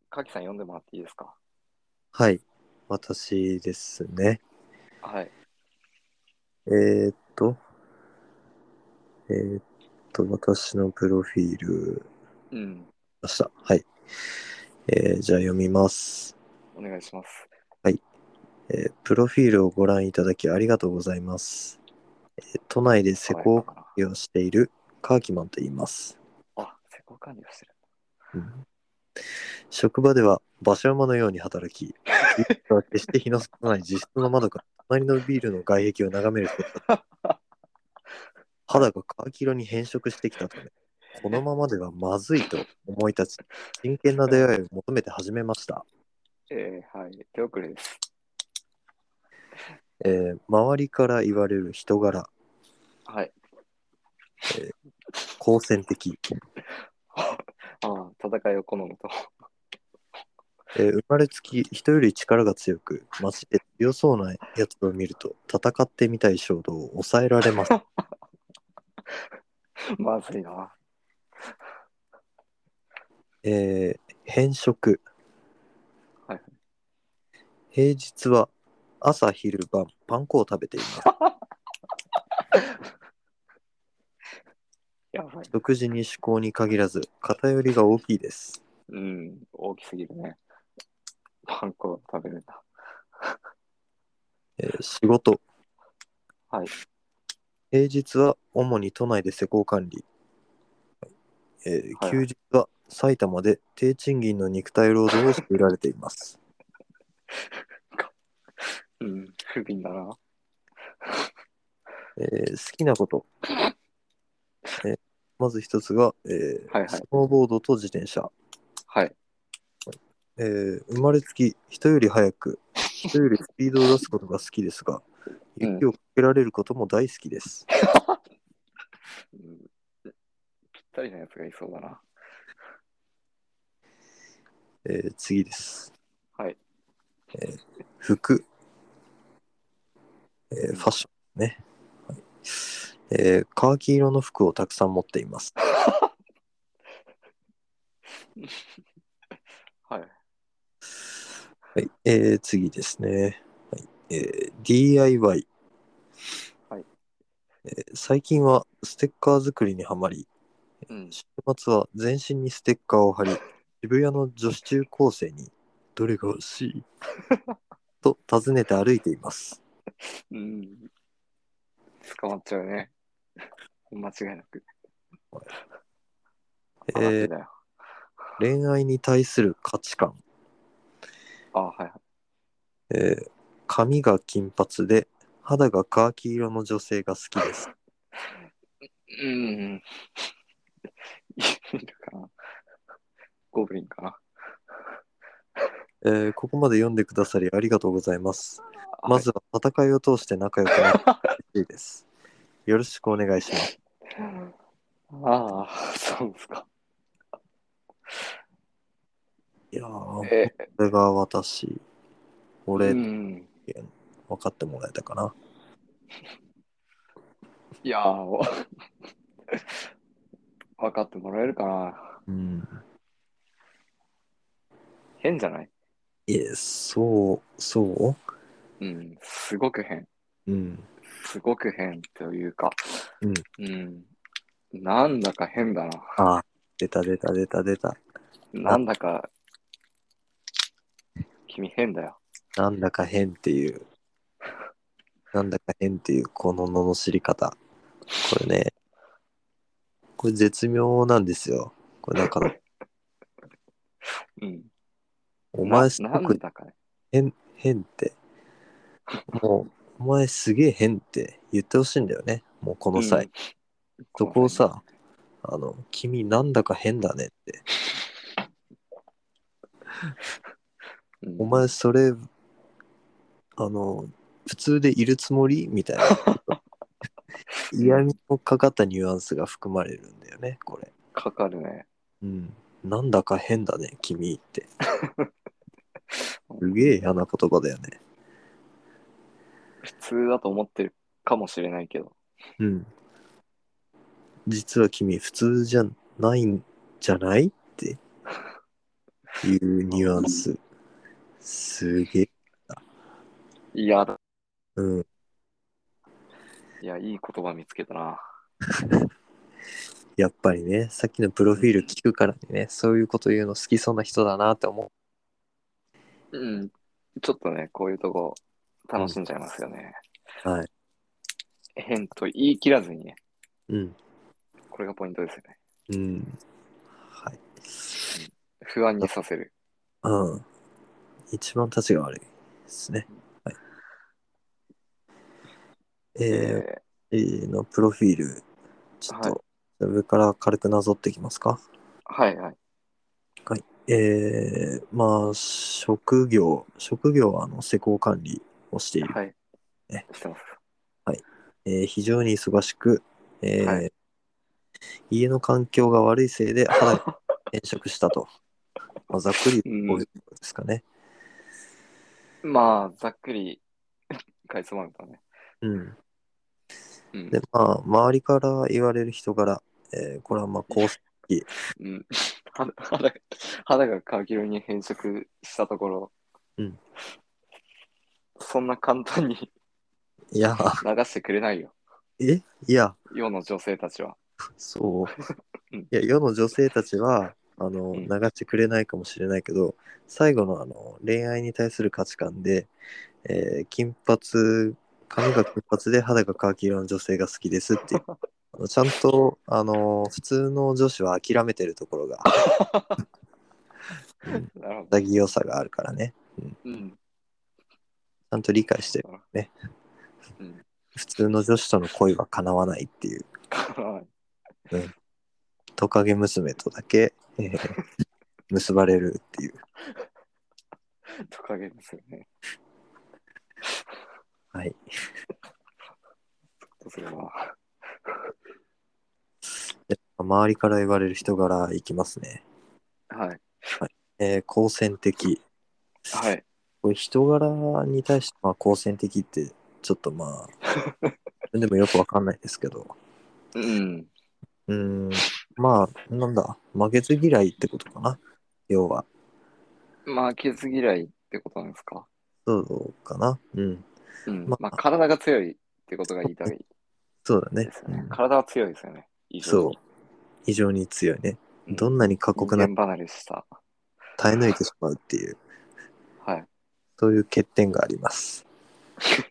かきさん読んでもらっていいですか
はい。私ですね。
はい。
えー、っと。えー、っと、私のプロフィール
うん。
ました。はい。えー、じゃあ読みます。
お願いします。
えープロフィールをご覧いただきありがとうございます。えー都内で施工
かな
管理をしているカーキマンと言います。
あ、施工管理をしてる。
うん職場では馬車馬のように働き、ビールは決して日の少ない自室の窓から隣のビールの外壁を眺めると、肌がカーキ色に変色してきたため、このままではまずいと思い立ち、真剣な出会いを求めて始めました。
えー、はい。手遅れです。
えー周りから言われる人柄、
はい。
好戦的、
ああ、戦いを好むと。 (laughs)
えー生まれつき人より力が強く街で強そうなやつを見ると戦ってみたい衝動を抑えられます
まずいな。
えー偏食、
はい
平日は朝昼晩パン粉を食べてい
(laughs)
ます
やばい。
独自に趣向に限らず偏りが大きいです
うん。大きすぎるね。パン粉を食べるんだ。
えー仕事
はい
平日は主に都内で施工管理、えー
はい
休日は埼玉で低賃金の肉体労働をしていられています、
うん。不憫だな。
えー好きな
(laughs)
こと、えーまず一つが、えー
はいはい
スノーボードと自転車、
はい。
えー生まれつき人より速く人よりスピードを出すことが好きですが
うん
雪をかけられることも大好きです、
うんぴったりなやつがいそうだな。
えー次です
はい。
服、えー
うん
ファッションね、はいえーカーキ色の服をたくさん持っています、
はい。
はいえー次ですね、はいえー DIY、
はい
えー最近はステッカー作りにはまり
うん。
週末は全身にステッカーを貼り渋谷の女子中高生に「どれが欲しい? 」と尋ねて歩いています
うん。捕まっちゃうね。間違いなく。
えー
だよ。
恋愛に対する価値観、
あ、はいはい。
えー髪が金髪で肌がカーキ色の女性が好きです。
うん。いるかなゴブリンかな
えーここまで読んでくださりありがとうございます。
あ
まずは戦いを通して仲良くなってほしいです。よろしくお願いします。
ああ、そうですか。
いやー、
え
これが私、俺、
うん。
分かってもらえたかな。
いやー、わ分かってもらえるかな。
うん。
変じゃない
いえ、そう、そ
うん。すごく変。
ううん。
すごく変というか。
うん
うん。なんだか変だな。
あー、出た出た出た出た。
なんだか、君変だよ。
なんだか変っていう、なんだか変っていう、この罵り方。これね、これ絶妙なんですよ。これだ
(laughs)
から、
うん。
お前す
な
ご
なん
く
だかね。
変って、もう、お前すげえ変って言ってほしいんだよね。もうこの際。
うん、
そこをさ、あの、君なんだか変だねって。
うん、
お前それ、あの、普通でいるつもりみたいな。嫌味のかかったニュアンスが含まれるんだよね、これ。
かかるね。
うん。なんだか変だね、君って。すげえ嫌な言葉だよね。
普通だと思ってるかもしれないけど。
うん。実は君、普通じゃないんじゃないっていうニュアンス。すげえ。
いや、だ
うん。
いや、いい言葉見つけたな。
やっぱりね、さっきのプロフィール聞くからにね、そういうこと言うの好きそうな人だなって思う。
うん。ちょっとね、こういうとこ、楽しんじゃいますよね。
はい。
変と言い切らずにね、
うん。
これがポイントですよね。
うん。はい。
不安にさせる。
うん。一番立ちが悪いですね。はい。え
え
ー、えーのプロフィール、ちょっ
はい
と、上から軽くなぞっていきますか。
ーはいはい。
えー、まあ、職業、職業はあの施工管理をしている。
はい。
ね
してます。
えー非常に忙しく、えー
はい
家の環境が悪いせいで肌が変色したと。まあ、ざっくりこういうことですかね。
まあ、ざっくり、 (laughs) かいつまんだね。
うん、
うん
で。まあ周りから言われる人柄、えーこれはまあこう
うん、 (laughs) 肌肌が肌がカキ色に変色したところ、
うん
そんな簡単に (laughs)
いや
流してくれないよ、
えいや
世の女性たちは。
そううんいや世の女性たちはあの
う
流
ん
してくれないかもしれないけど、最後のあの恋愛に対する価値観で、えー金髪髪が金髪で肌がカーキ色の女性が好きですっ
(laughs)
ていうあのちゃんとあの普通の女子は諦めてるところが
なるほど。
肌着良さがあるからね
うん。 (laughs)
ちゃんと理解してるね
うん
普通の女子との恋は叶わないっていう
はい
トカゲ娘とだけ、えー結ばれるっていう。
トカゲですよね。
はい。
どうすれば。
周りから言われる人柄いきますね。
はい。
えー、好戦的。
はい。
これ人柄に対して、まあ、好戦的って、ちょっとまあ、
(laughs)
自分でもよくわかんないですけど。
うん。
うーん、まあ、なんだ、負けず嫌いってことかな。要は、
負けず嫌いってことなんですか。
そうかな。うん、
うん。
ま
ま
あ
あ、体が強いってことが言いたい
そうだね
ですよ
う
ね
ん。
体は強いですよね。以上
そう。非常に強いね。
うん
どんなに過酷
人
な
間離れした。
耐え抜いてしまうっていう、
はい。
そういう欠点があります。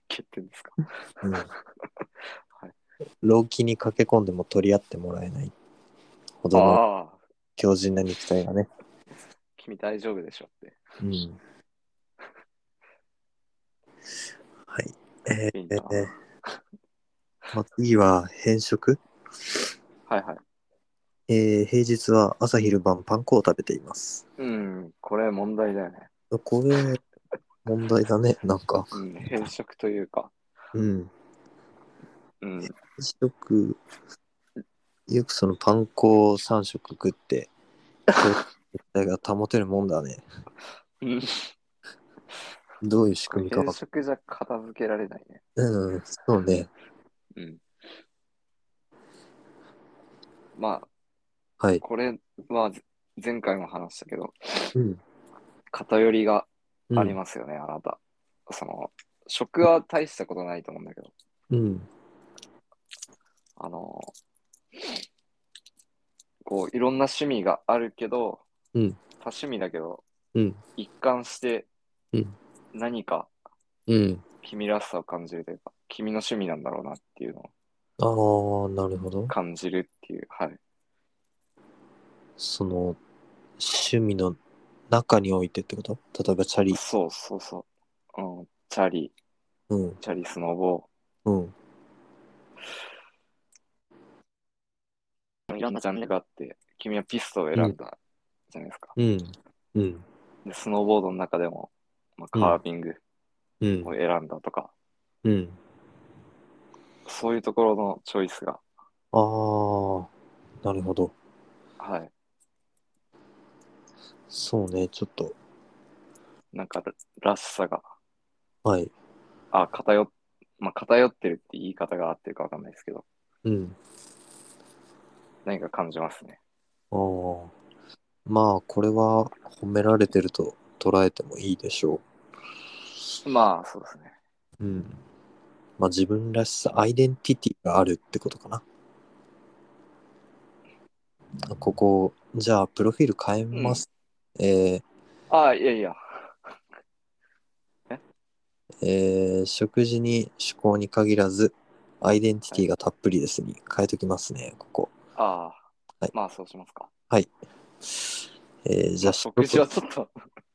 欠点ですか。 (laughs)
うん
い
老気に駆け込んでも取り合ってもらえないほどの
ああ。
強靭な肉体がね
君大丈夫でしょって。
うん。はい。え
いい
ー
な
えーまあ、次は偏食。
はいはい。
えー平日は朝昼晩パン粉を食べています。
うん、これ問題だよね。
これ、問題だね、なんか。
うん、変色というか。
うん。
うん、
よく、よくそのパン粉を3食食って、体が保てるもんだね。
うん
どういう仕組みか
変
わか
色じゃ片付けられないね。
うん、そうね。
うん。まあ、
はい。
これはぜ前回も話したけど、
うん。
偏りが
うん
ありますよね、あなた。その、食は大したことないと思うんだけど、
うん。
あの、こう、いろんな趣味があるけど、
うん
多趣味だけど、
うん
一貫して
うん
何か
うん。
君らしさを感じるというか、君の趣味なんだろうなっていうのを
ああ、なるほど。
感じるっていう、はい。
その、趣味の中においてってこと例えばチャリ。
そうそうそう。うん、チャリ、
うん。
チャリスノボ
うん。
ー、いろんなジャンルがあって、君はピストを選んだじゃないですか。
うん。うん。
で、スノーボードの中でも、まあ、
うん
カービング
うん
を。選んだとか、
うん。
そういうところのチョイスが、
ああ、なるほど。
はい、
そうね、ちょっと。
なんからしさが、
はい。
あ、偏っ、まあ、偏ってるって言い方が合ってるかわかんないですけど、
うん。
何か感じますね。
ああ、まあこれは褒められてると捉えてもいいでしょ
まあ、そうですね。
う。うん。まあ自分らしさ、アイデンティティがあるってことかな。あここ、じゃあプロフィール変えます。え
あ、いやいや、
ーえー食事に趣向に限らず、アイデンティティがたっぷりですに変えときますね、ここ。
ああ、
はい
まあそうしますか。
えーじゃあ
食事はちょっと、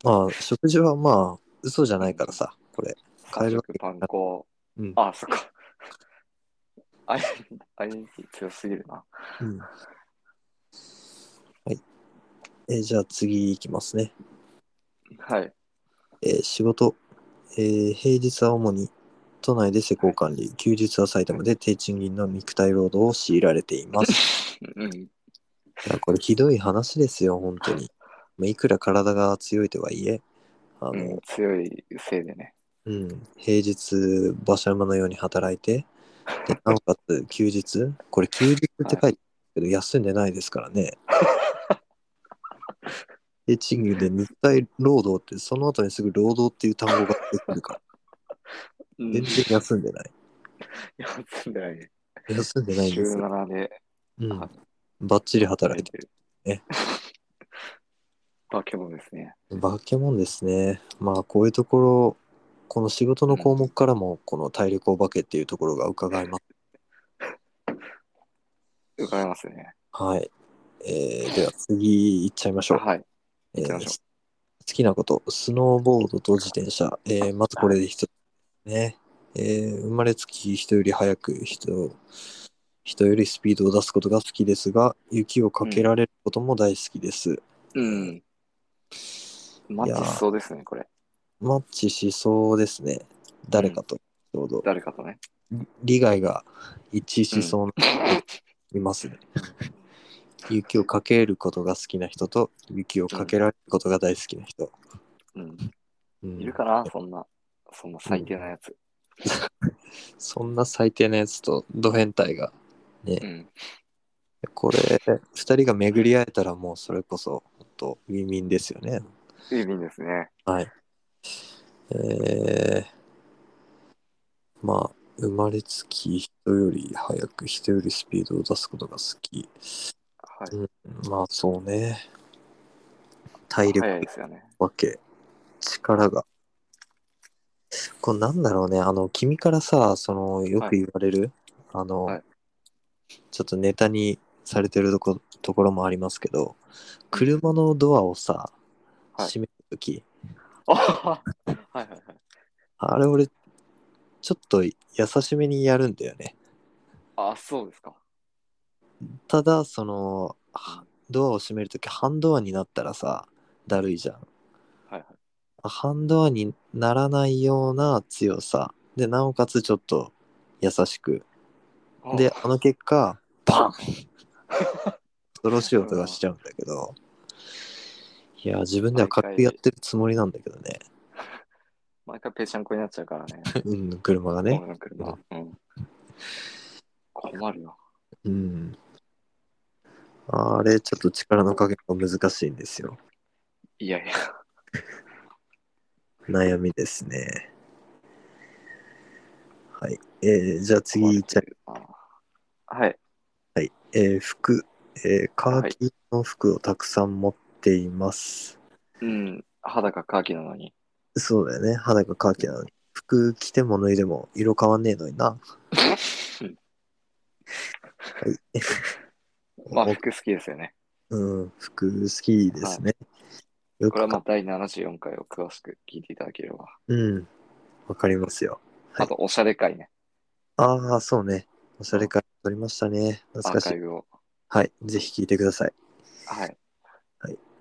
まあ食事はまあ嘘じゃないからさ、これ。変え
三
るわ
食
け
パン粉、
うん
あ、そっか。アイアイデンティティ強すぎるな。
うんはい。えーじゃあ次いきますね。
はい。
えー仕事、えー平日は主に都内で施工管理、休日は埼玉で低賃金の肉体労働を強いられてい (laughs) ます。
うん。
いやこれひどい話ですよ、本当に。まあいくら体が強いとはいえ、あ
う
の
ん、、強いせいでね。
うん、平日、馬車馬のように働いて、でなおかつ休日、これ休日って書いてあるけど、休んでないですから (laughs) ね。で、賃金で肉体労働って、その後にすぐ労働っていう単語が出てくるから、
うん
全然休んでない。
休んでないね。
休んでないん
週
ですよ。
7で
うん。ばっちり働いて
る。 (laughs)
ね
化け物ですね。
る。化け物ですね。まあ、こういうところ、この仕事の項目からも、この体力お化けっていうところが伺えます。
伺いますね。
はい。えー、では次行っちゃいましょう。
はい。
えー
きましょう
好きなこと、スノーボードと自転車。えーまずこれで一つね。えー生まれつき人より速く人、人よりスピードを出すことが好きですが、雪をかけられることも大好きです。
うん。マッチしそうですね、これ。
マッチしそうですね。誰かと、ちょうど。
誰かとね。
利害が一致しそうな人いますね。雪をかけることが好きな人と、雪をかけられることが大好きな人。
うん。
うん
いるかな、そんな、そんな最低なやつ。
そんな最低なやつとド変態が。
うん。
これ、二人が巡り合えたらもうそれこそ、本当ウィンウィンですよね。
いい便ですね。
はい。えー、まあ、生まれつき人より早く人よりスピードを出すことが好き。
はい。
まあ、そうね。体力
早いですよね。 (laughs)
わけ。力が。これなんだろうね、あの、君からさ、その、よく言われる、あの、
はい
ちょっとネタにされてるとこところもありますけど、車のドアをさ、
はい
締めるとき、
あはいはいはい。
あれ俺、ちょっと優しめにやるんだよね。
あ、そうですか。
ただ、その、はドアを閉めるとき、半ドアになったらさ、だるいじゃん。
はいはい。
半ドアにならないような強さ。で、なおかつちょっと優しく。
あ
で、あの結果、バン恐ろしい音がしちゃうんだけど。いや、自分では軽くやってるつもりなんだけどね。
毎回ぺちゃんこになっちゃうからね。
うん、車が (laughs) ね
俺。の車。うん。困るよ。
うん。あれ、ちょっと力の加減が難しいんですよ。
いやいや。
悩みですね。はい。えーじゃあ次いっちゃい
困るよなはい。
えー服、えーカーキの服をたくさん持っています。
うん。肌がカーキなのに。
そうだよね。肌がカーキなのに。服着ても脱いでも色変わんねえのにな。
まあ、服好きですよね。
うん、服好きですね。よ
これは
く
まあ
か、
第74回を詳しく聞いていただければ。
うん、わかりますよ。はい
あと、おしゃれ会ね。
ああ、そうね。おしゃれ会撮りましたね。
ア
懐か
ー
し
カイ
い。
ブを。
はい。ぜひ聞いてください。
はい。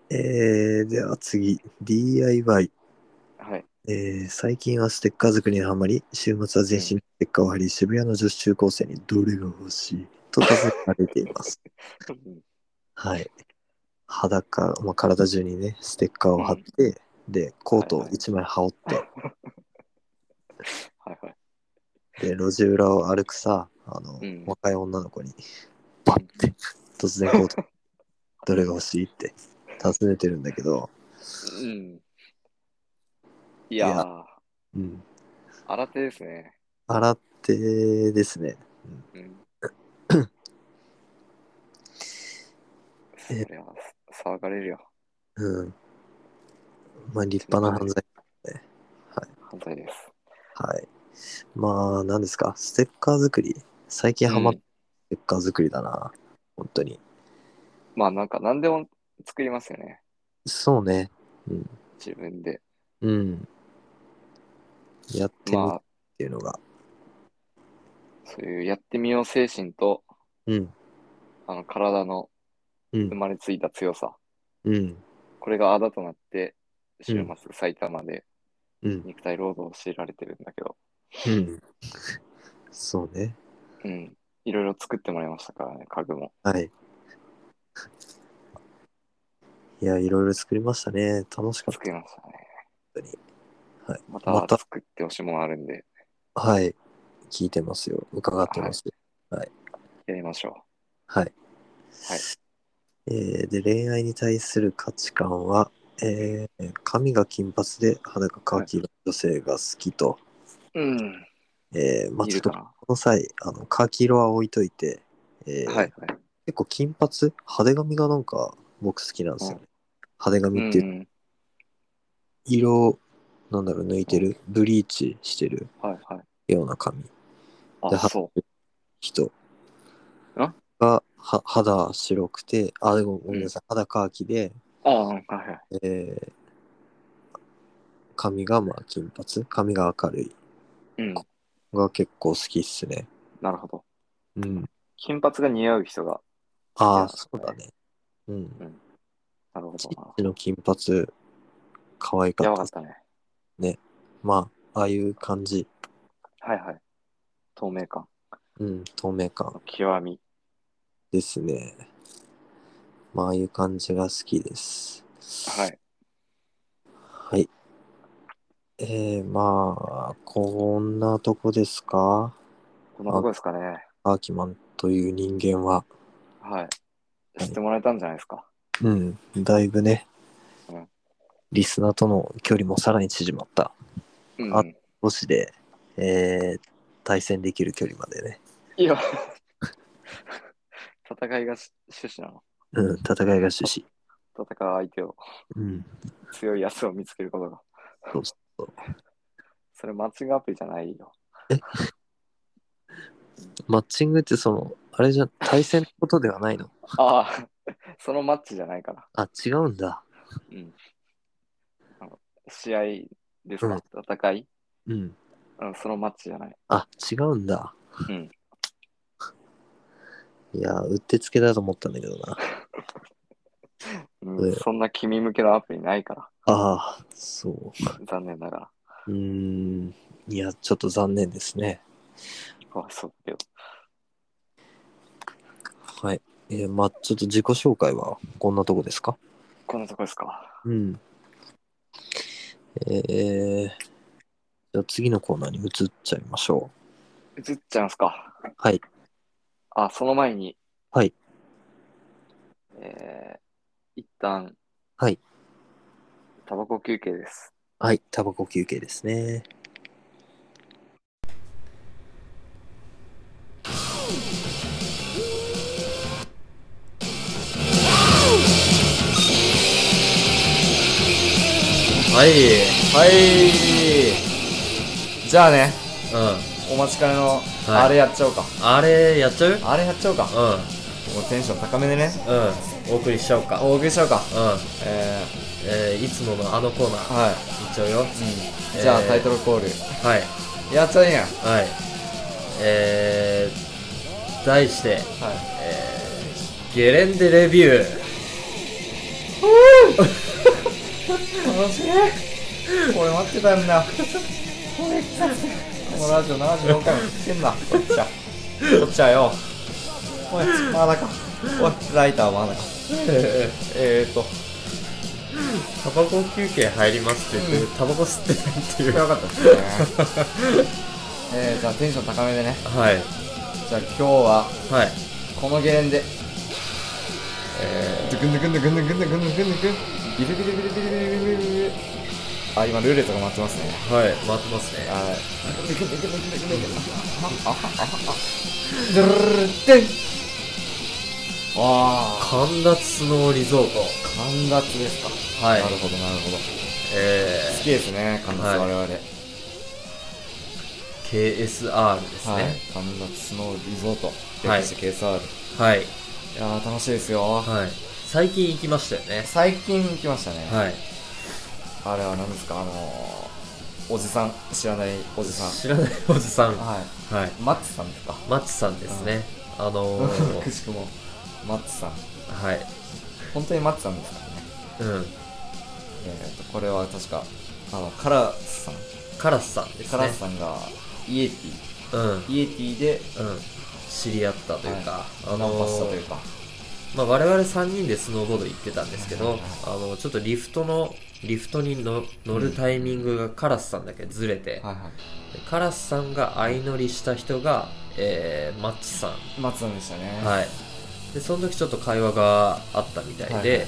えー、では次、DIY。
はい。
えー最近はステッカー作りにハマり、週末は全身にステッカーを貼り、渋谷の女子中高生にどれが欲しいと尋ねられてい
(laughs)
ます。
うん
はい。裸、まあ、体中にね、ステッカーを貼って、で、コートを1枚羽織って、
はいはい。
で、路地裏を歩くさ、あの、
うん
若い女の子に、バッ
(laughs)
て、突然コート、どれが欲しいって尋ねてるんだけど、
うん。いや
い
ー、
うん。
新手ですね。
洗ってですね、
うん。そ
え
れは騒がれるよ。
うん。まあ、立派な犯罪
犯罪です。
はい。まあ、何ですか、ステッカー作り。最近ハマったステッカー作りだな、本当に。
まあなんか何でも作りますよね。
そうね。
自分で。
うん。やってみるっ
まあ
ていうのが。
そういうやってみよう精神と
うん。
あの体の
う
生
ん。
まれついた強さ、
うん。
これがあだとなって週
う
末
ん
埼玉で
うん。
肉体労働を強いられてるんだけど、
うん。そうね。
うん、いろいろ作ってもらいましたからね家具も。
はい。いや、いろいろ作りましたね。楽しかっ
作りましたね。
たに。はい。
また
また、
作ってほしいものあるんで
はい。聞いてますよ。伺ってますよ。
やりましょ
はい。
はい
えーで、恋愛に対する価値観は、えー髪が金髪で肌がカーキ色の女性が好きと、
う。うん。
えーまあ、
い
ちょ
る
っと
か
こ
な。
の際、あのカーキ色は置いといて、えー
はいはい。
結構金髪、派手髪がなんか僕好きなんですよね。派手
う。
髪っていうん色を、なんだろう、抜いてる、ブリーチしてる
はいはい。
ような髪。で
あ、
は
そ
人
あ
がは肌白くて、あ、でもごめんなさい、肌カーキで、
う。ああ、はいはい。
えー髪がまあ金髪髪が明るい
うん。
が結構好きっすね。
なるほど。
うん。
金髪が似合う人が。
あ
い
あ、
や
そうだね。うん。
なるほど
チッ
な。
チの金髪、可愛か
や
っ
ばか
た
っ。たね。
まあ、ああいう感じ。
はいはい。透明感
うん、透明感
の極み。
ですね。まあ、ああいう感じが好きです。
はい。
はい。えー、まあ、こんなとこですか
こんなとこですかね。
アーキマンという人間は。
はい。知ってもらえたんじゃないですか。
うん、だいぶね、
うん
リスナーとの距離もさらに縮まった。
うん。
あ都市で、えー対戦できる距離までね、
いや。 (laughs) 戦いがし趣旨なの。
うん、戦いが趣旨。
戦う相手を、
うん、
強いやつを見つけることが。
そうそうそう
それマッチングアプリじゃないよ。
マッチングってその、あれじゃ、対戦のことではないの
(laughs) ああ、そのマッチじゃないから。
あ、違うんだ。
うん。試合ですか、戦い、
うん。
うん、そのマッチじゃない。
あ、違うんだ。
うん。
いやー、うってつけだと思ったんだけどな。
う
え
ん、
え
そんな君向けのアプリないから、
ああ、そ
残念ながら。
う。うーん。いや、ちょっと残念ですね。
かわいそうだけ
はい。えーまあちょっと自己紹介はこんなとこですか
ど。こんなとこですか。
うん。えー、じゃあ次のコーナーに移っちゃいましょ
映っちゃいますか。
う。はい。
あ、その前に。
はい。
えー、一旦。
はい。
タバコ休憩です。
はい。タバコ休憩ですね。
はい。
はいじゃあね
う
お待ちかねの
い
あれやっちゃおうか、
ん。あれ、やっちゃう
あれやっちゃおうか
う
もうテンション高めでね
ん。うん。お送りしちゃおうか。うん。
お送りしちゃおうかえ
えー、いつものあのコーナ
ー、
ー、い
はい、
っちゃうよ。
うん、じゃあ、
えー
タイトルコール
はい。
やっちゃうんやは
はい。えー、題して、
い
えー、ゲレンデレビュー。
楽しいこれ待ってたんだこのラジオ74回も聞いてんなこっちゃこっちゃよおいまだかおいライターまだかえー、っと
タバコ休憩入りますって言って、タバコ吸ってないっていう。
よかったですねえー、じゃあテンション高めでね
はい。
じゃあ今日は
はい。
このゲレンデ
え
ドゥクンドゥクンドゥクンドゥクンドゥクンドゥクンドゥクンビルビルビルビルビルビルビルビルあ今ルーレットが待ってますね
ー、はい。回ってますね。
はいドゥルルルルルテンわあ
神田スノーリゾート。
神田津ですか
はい
なるほどなるほど好
え
きですね神田津
はい
我々はい
ー、KSR ですね。
神田津のリゾート
はい
略して KSR
はい。
いやー楽しいですよ
はい。最近行きましたよね。
最近来ましたね
はい。
あれは何ですかあのー、おじさん知らないおじさん
知らないおじさん。は
はい
い。
マッツさんですか
マッチさんですね。あの
(laughs) く
ー、
しくもマッツさん
はい。
本当にマッツさんですからね
うん。
えー、とこれは確かあのカラスさん、
カラスさんですね。
カラスさんがイエテ
うん。うん。
ィイエティで
知り合ったというか、あ
ナンパ
の
したという
ー、
か、
まあ、我々3人でスノーボード行ってたんですけ
は
ど
いはい、
あの、ちょっとリフトの、リフトにの乗るタイミングがカラスさんだけずれて、
はいはい
カラスさんが相乗りした人が、えー、マッチさん。
マッツさんでしたね、
はい。で、その時ちょっと会話があったみたいで、
はいはい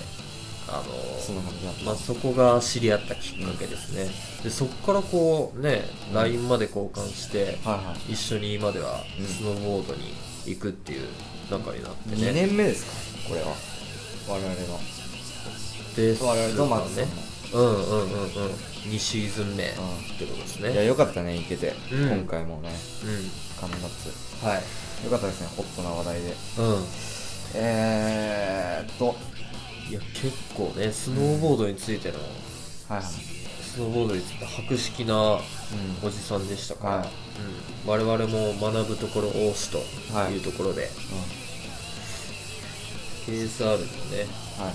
あのー
そんな感じだった、
まあ、そこが知り合ったきっかけですね、でそこからこうね LINE まで交換して
はいはい
一緒に今では
うん
スノーボードに行くっていう仲になって
2
ね
年目ですかこれは我々の
です
我々とマッツさん
ね
の、
うんうんうんうん2シーズン目ってことです
うん、いや
ね
よかったねいけて、
うん
今回もね
う
神マッツ
んはい
よかったですねホットな話題で
うん
えー、っとはい
や結構ねスノーボードについての、
いはい
スノーボードについて博識な
うん
おじさんでしたから、
はい
うん、我々も学ぶところ多しというところで、
う
KSR のね、
はい
あの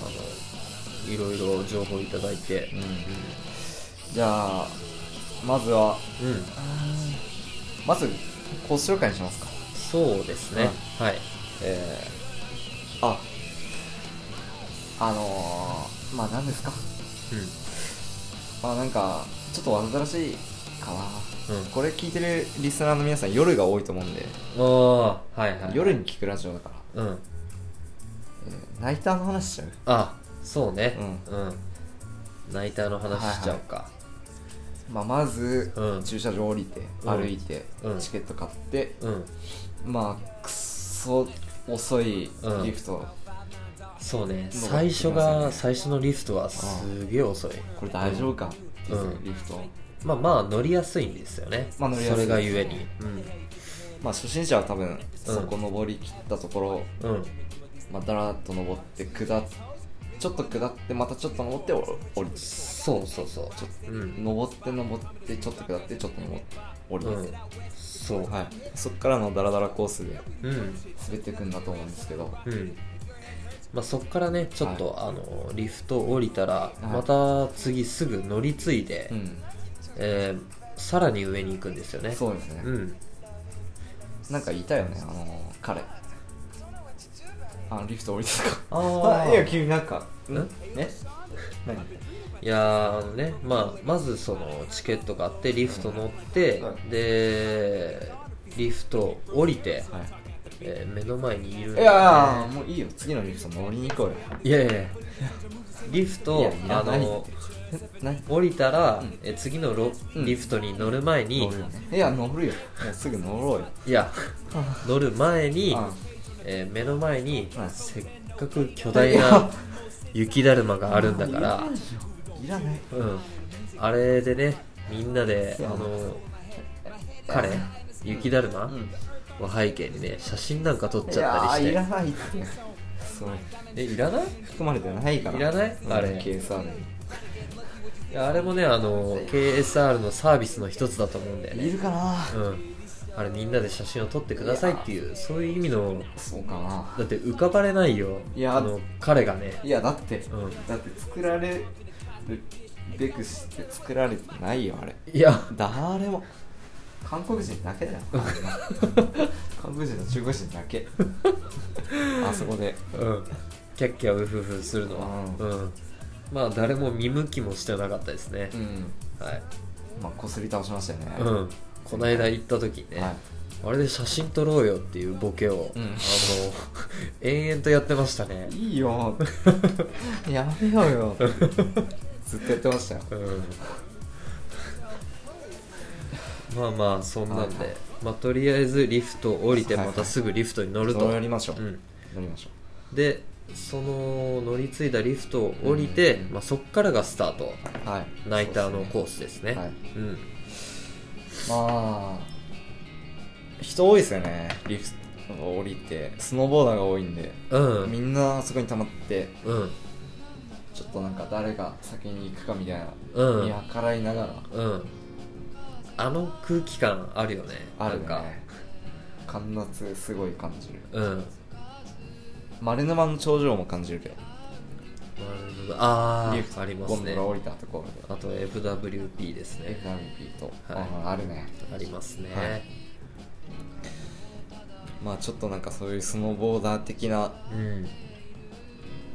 いろいろ情報いただいて、
ん、うん、じゃあまずは
うん、
まずコース紹介にしますか
そうですね、はい、
えー、ああのー、まあ何ですか
う
まあなんかちょっとわざとらしいかな、
うん
これ聞いてるリスナーの皆さん夜が多いと思うんで、
ん、ああ、はいはい、
夜に聞くラジオだから、
うん、
えーナイターの話しちゃう
あそうね、
う
うん、ナイターの話しちゃおうか、
まあまず、
うん
駐車場降りて
うん
歩いて、
うん
チケット買って、
うん、
まあくっそ遅いリフト、
そうね、
登ってきますね
最初が、最初のリフトはすげえ遅い、
これ大丈夫か、
うん
リフト
まあまあ、乗りやすいんですよね、
まあ乗りや
そ
すい
れがゆえに、
まあ初心者は多分そこ登り切ったところ、
うん、うん、
まあ、だらっと登って下っちょっと下ってまたちょっと登ってお降りて
そうそうそう
ちょっ
うん
と登って登ってちょっと下ってちょっと登って降りて、
うんそう
はい、そっからのダラダラコースで
うん
滑っていくんだと思うんですけど
うんまあ、そこからねちょっと、あのリフト降りたら、
い
また次すぐ乗り継いで、
うん
えーさらに上に行くんですよね
そうですね、
うん
なんかいたよねあの彼あのリフト降りてたか
あ
あ
ー
(laughs) いや君なんかん
ん
え何
いやーあのね、まあ、まずそのチケット買ってリフト乗って、
は
でリフト降りて、
は
えー目の前にいるん
い
で
いやーもういいよ次のリフト乗りに行こうよ
いやいやいやリフ
い
ト
やいら
あ
ない
の
何
降りたら、
うん
え次のロ
うん
リフトに乗る前に、
乗るよねいや乗るよもうすぐ乗ろうよ
い
(laughs)
や乗る前に、
あ
えー目の前に、
はい
せっかく巨大
いや
な雪だるまがあるんだから、
いらない
うん、あれでねみんなであ
そう
の彼雪だるま
うん
を背景にね写真なんか撮っ
い
ちゃ
や
ったり
ーい
して
らないってそれ
えいらない
含まれてないから
いらない
うん
あれ
KSR
いやあれもねあの KSR のサービスの一つだと思うんだよ
にい
ね、
るかな
うん、あれみんなで写真を撮ってくださいっていうそういう意味の
そうかな
だって浮かばれないよ
いや
あの彼がね
いやだって
うん
だって作られるべくして作られてないよあれ
いや
誰も韓国人だ
(laughs)
けだよ韓国人と中国人だけあそこで
うんキャッキャウフフするのは
う
うんまあ誰も見向きもしてなかったですね
う、ん
はい
まあこすり倒しましたよね
うんこないだ行った時にね、
はい
あれで写真撮ろうよっていうボケを、
うん
あの延々とやってましたね、
いいよ (laughs) やめようよずっとやってましたよ
うん、まあまあそんなんで、
はいはい
まあ、とりあえずリフト降りて
はいは
ま
い
たすぐリフトに乗ると、
乗りましょう、
う
乗
ん、
りましょ
でその乗り継いだリフトを降りて、
うん
まあ、そっからがスタート
うはい
ナイターのコ
こ
ースですね
はい
うん
まあ人多いですよねリフト降りてスノーボーダーが多いんで、
うん
みんなあそこに溜まって
うん
ちょっとなんか誰が先に行くかみたいな、
うん
見計らいながら
うんあの空気感あるよね
ある
なん
ね
か
寒夏すごい感じる
うん
丸沼の頂上も感じるけど
あ
リフ
あ
ト
あります
ゴンド
ね
ラ降りたところで
あと FWP ですね
FWP と、
はい
ああるね
ありますね、
はいまあちょっとなんかそういうスノーボーダー的な
うん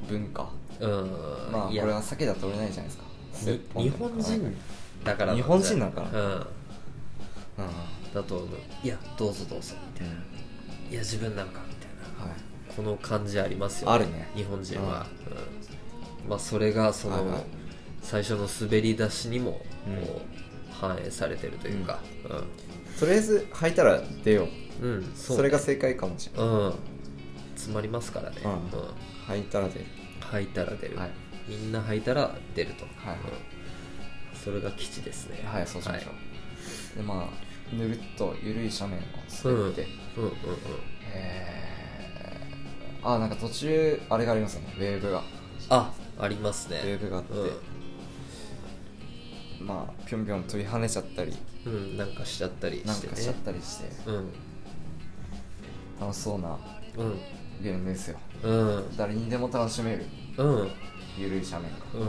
文化
うん
まあこ
い
れ
や
は避けたら取れないじゃないですかス
に
ッポン
日
で
本
も
人だからなんじゃ
日本人だから
うん
うん、
だと思ういやどうぞどうぞみたいないや自分なんかみたい
はい、
なこの感じありますよ
あるね
日本人は、うんまあそれがその、
はいはい
最初の滑り出しにもこう、
うん
反映されてるというか
とりあえず履いたら出よう
うん、うん
そ,、
そうね
れが正解かもしれない、
うん詰まりますからね、
うん
うん
履いたら出る
吐いたら出る、
はい
みんな吐いたら出ると、
はい
うんそれが基地ですね
はいそうしましょう、でまあぬるっと緩い斜面を滑って、
うんうんうん
えー、あなんか途中あれがありますよねウェーブが
ああります
ウェー
ね
ブがあって、まあぴょんぴょん飛び跳ねちゃったり
うん、うん、なんかしちゃったりしてね
なんかしちゃったりして
うん
楽しそうな
うん
ゲームですよ
うん
誰にでも楽しめる
うん
緩い斜面が
うん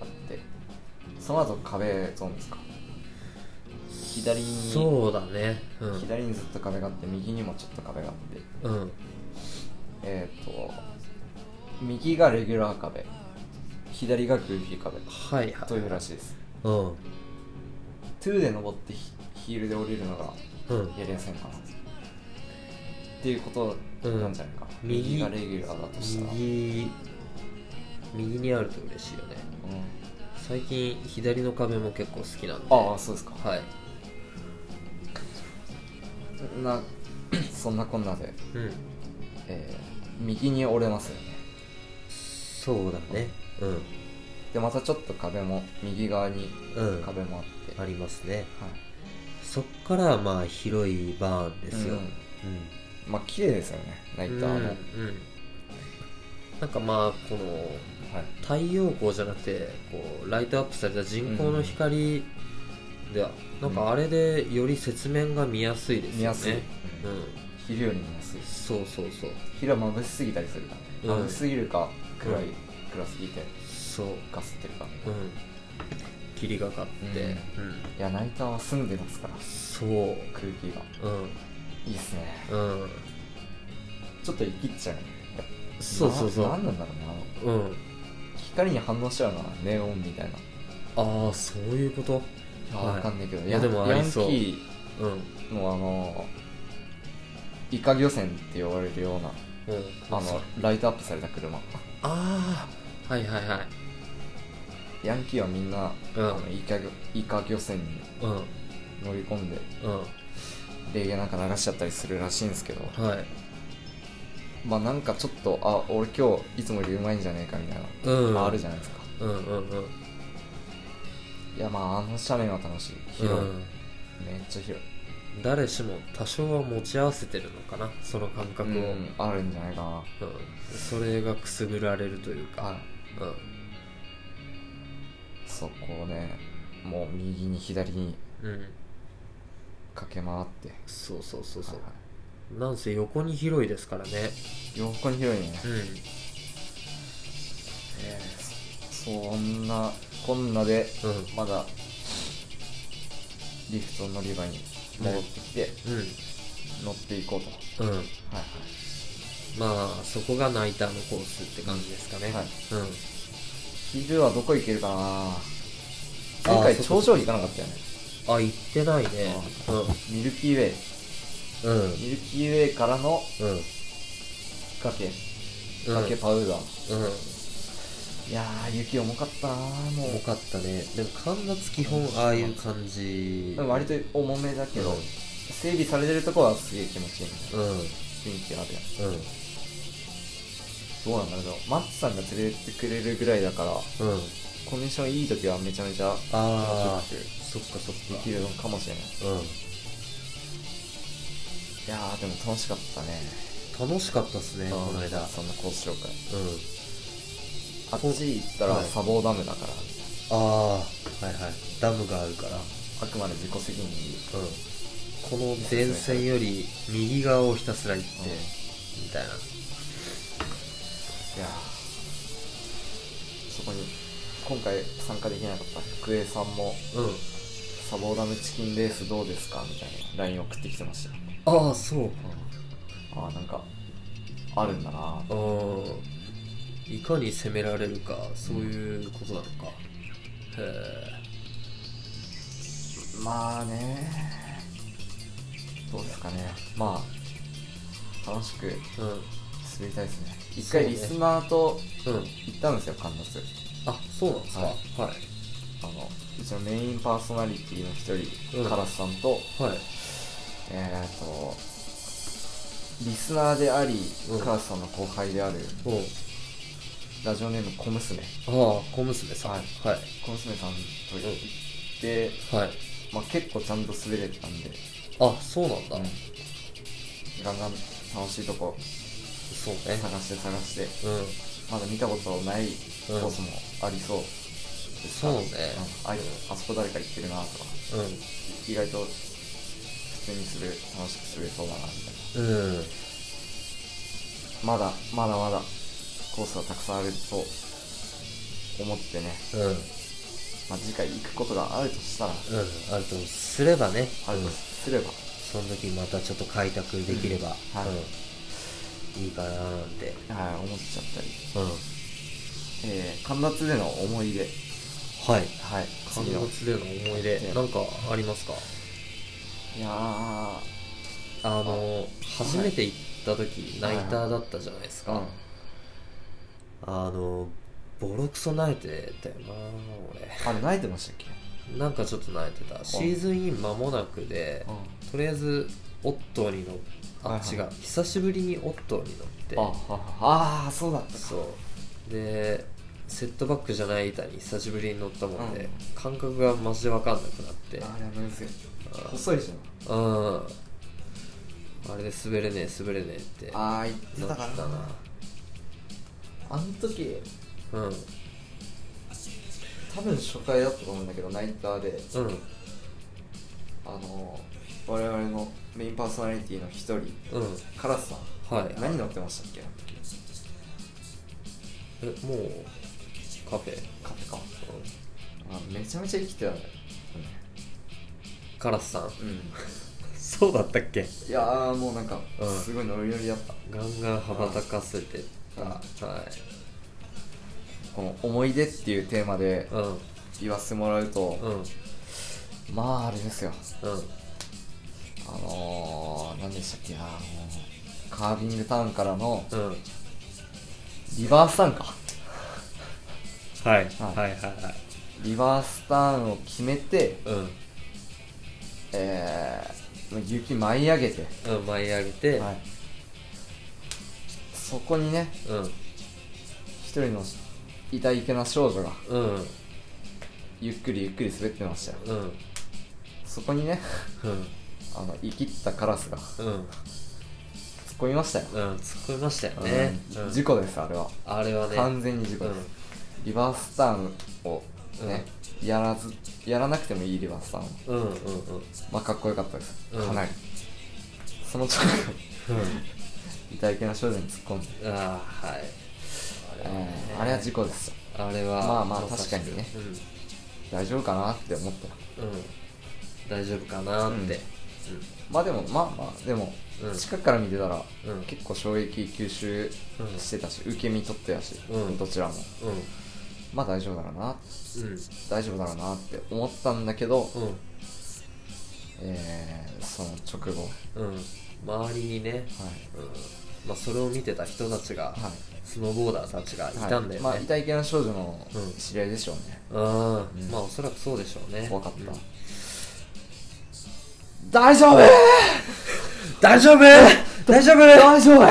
あってその後壁ゾーンですか左に
そうだねうん
左にずっと壁があって右にもちょっと壁があって
うん
えっ、と右がレギュラー壁左がグーフィー壁
はいはい
というらしいです
うん
2で登ってヒヒールで降りるのが
うん
やりやすいのかなっていうことなんじゃないか
うん
な、
右
右がレギュラーだとしたら、うん、
右右にあると嬉しいよね最近左の壁も結構好きなんで
ああそうですか
はい
な (coughs) そんなこんなで、
うん
えー右に折れますよね
そうだねうん
でまたちょっと壁も右側に
うん
壁もあって、
ありますね
はい
そっからまあ広いバーンですよ、
うんまあ綺麗ですよねナイターの、
うんうんなんかまあこの
はい
太陽光じゃなくてこうライトアップされた人工の光で、なんかあれでより雪面が見やすいです
見
よ
やすい、
ね。う
うん
ん、
昼より見やすい
そうそうそう
昼は眩しすぎたりするからね
うん
眩しすぎるか暗い暗すぎて
そう、
ガスってるからね
うん、霧がかって、うん、
いやナイターは澄んでますから
そう、
空気が
うん、
いいっすね
うん、
ちょっと生きっちゃうね
そうそうそ
ななん
う、
なんだろうな
うん、
光に反応しちゃうなネオンみたいな
ああそういうこと、
いや
はい
わかんないけど、
い
ヤ
や
ン
でもあ
ヤン
り
キ
そう
ー
うん、
のあのイカ漁船って呼ばれるような
うん、
あのライトアップされた車
ああはいはいはい、
ヤンキーはみんな、
うん
あのイカ漁イカ漁船に
うん、
乗り込んで
う
レゲエなんか流しちゃったりするらしいんですけど
ん、はい、
まあなんかちょっとあ俺今日いつもよりうまいんじゃねえかみたいな、
うん、
まあ、ある
じ
じゃないですか
ゃん、うんうんうん、
いやまああの斜面は楽しい広い、
うん
めっちゃ広い
誰しも多少は持ち合わせてるのかなその感覚を、う
うんんあるんじゃないかな
それがくすぐられるというか、
あ
うん、
そこをねもう右に左に
うん、
駆け回って
そうそうそう
は
そう、
いは
なんせ横に広いですからね
い横に広いね、
う
えーそそんなこんな
んう
で
ん
まだリフト乗り場に戻ってきて乗っていこうと、
うんうん
はい
まあそこがナイターのコースって感じですかね、
はい
うん
昼はどこ行けるかな
あ
前
ー
回
そ
頂
こ
上行かなかったよね
あ行ってないね
ミルキーウェイ
うんうん
ミルキーウェイから
う
の
ん
崖
うん
崖パウダー、
うん
いやー雪重かったなーも
重
う
かったねでも神夏基本ああいう感じ
でも割と重めだけど、
うん
整備されてるとこはすげえ気持ちいいね
うんうん
雰囲気あるやんどうなんだろうマッツさんが連れてってくれるぐらいだから
うん
コンディションいい時はめちゃめちゃ
ああ
気持ちよ
そっかそっ
く
か
できるのかもしれない
うん
いやーでも楽しかったね
楽しかったっすねこの間
そんなコース紹介
うん
あっち行ったら
はい
砂防ダムだから
ああはいはいダムがあるから
あくまで自己責任
うんこの前線より右側をひたすら行って、
うん
みたいない
やーそこに今回参加できなかった福江さんも
うん
砂防ダムチキンレースどうですかみたいな LINE 送ってきてました
ああそう
ああなんかあるんだなーって
ああいかに攻められるかそういうことなのか、へ
まあねどうですかねまあ楽しく
えう
滑りたいですね一
そう
回
ね
リスナーと
んうん
行ったんですよ神夏
あそうなんですか
は
は
あのうちのメインパーソナリティの一人、
うん
カラスさんと
いはい
えー、っとリスナーであり、
うん
カラスさんの後輩である
おう
ラジオネーム小娘
ああ小娘さん
は
はいい
小娘さんと行って、
はい
まあ、結構ちゃんと滑れてたんで、
あそうなんだ、
ガンガン楽しいとこ
そうね
探して探して
うん
まだ見たことないコースもありそうですから、
そうね
んあいあそこ誰か行ってるなとか意外と普通に滑る楽しく滑れそうだなみ
う
たい
んうん
なまだまだまだコースはたくさんあると思ってね、
うんうん
まあ、次回行くことがあるとしたらあ
あるとすればね
る
うん
とすれば、
その時またちょっと開拓できれば、
うんはい
うんいいかなーなんて、
はい、思っちゃったり、
うん、
えー、神夏での思い出
はい
はい次
神
の
夏での思い出
ええ
なんかありますか
いやー
あの初めて行った時、
はい
ナイターだったじゃないですか、
うん
あのボロクソ泣いてたよな
あれ泣いてましたっけ
俺なんかちょっと泣いてたシーズンイン間もなくで
うん
とりあえずオットーに乗っあ、
はいはい
違う久しぶりにオットーに乗って
あああーそうだったか
そうでセットバックじゃない板に久しぶりに乗ったもんで、
うん
感覚がマジで分かんなくなって
あれはむずい
あ
細いじゃん
うんあれで滑れねえ滑れねえって
ああ言ってたか
な
ら
ったな
あの時
うんうん
多分初回だったと思うんだけどナイターで
うん
あの我々のメインパーソナリティの一人カラスさん
はい
何乗ってましたっけ
えもうカフェ、
カフェか
う
あめちゃめちゃ生きてたんだよ、
ん、カラスさん
うん、
そうだったっけ
いやーもうなんか
うん
すごいノリノリだった、
ガンガン羽ばたかせて
うん
たはい
この「思い出」っていうテーマで
うん
言わせてもらうと、
うん
まああれですよ
うん
あのー、何でしたっけあのカービングタウンからの
うん
リバースターンか
はいはいはいはい
リバースターンを決めて
うん
えー、雪舞い上げて、
うん舞い上げて、
はい、そこにね一人のいたいけな少女が
うんうん
ゆっくりゆっくり滑ってましたよ
うん
そこにね
うん
あの生きったカラスが突っ
うん
込みましたよ、
うん突っ込みましたよね、
う
うんん
事故ですあれは
あれはね
完全に事故です、リバースターンをね、やらずやらなくてもいいリバースターンを
うんうんうん
まあかっこよかったです
うん
かなり、その直後に痛いけな少女に突っ込ん
う
で、
んああはい
えーあれは事故ですよ
あれは
まあまあ
さしく
確かにね
うん
大丈夫かなって思った
うん、大丈夫かなって、
まあでもまあまあでも、
うん
近くから見てたら、
うん
結構衝撃吸収
うん
してたし、受け身取ってたし、
うん
どちらも
うん、うん、
まあ大丈夫だろうな
うん、
大丈夫だろうなって思ったんだけど、
う
えー、その直後はい
ん、うん、周りにね、うん、まあそれを見てた人たちが、
はい
スノーボーダーたちがいたんだよね。
まあ痛い系の少女の
うん
知り合いでしょうね、
うん、
うん
まあおそらくそうでしょうね。
怖かった、
うん
大丈夫
大丈夫、大丈夫。
大丈夫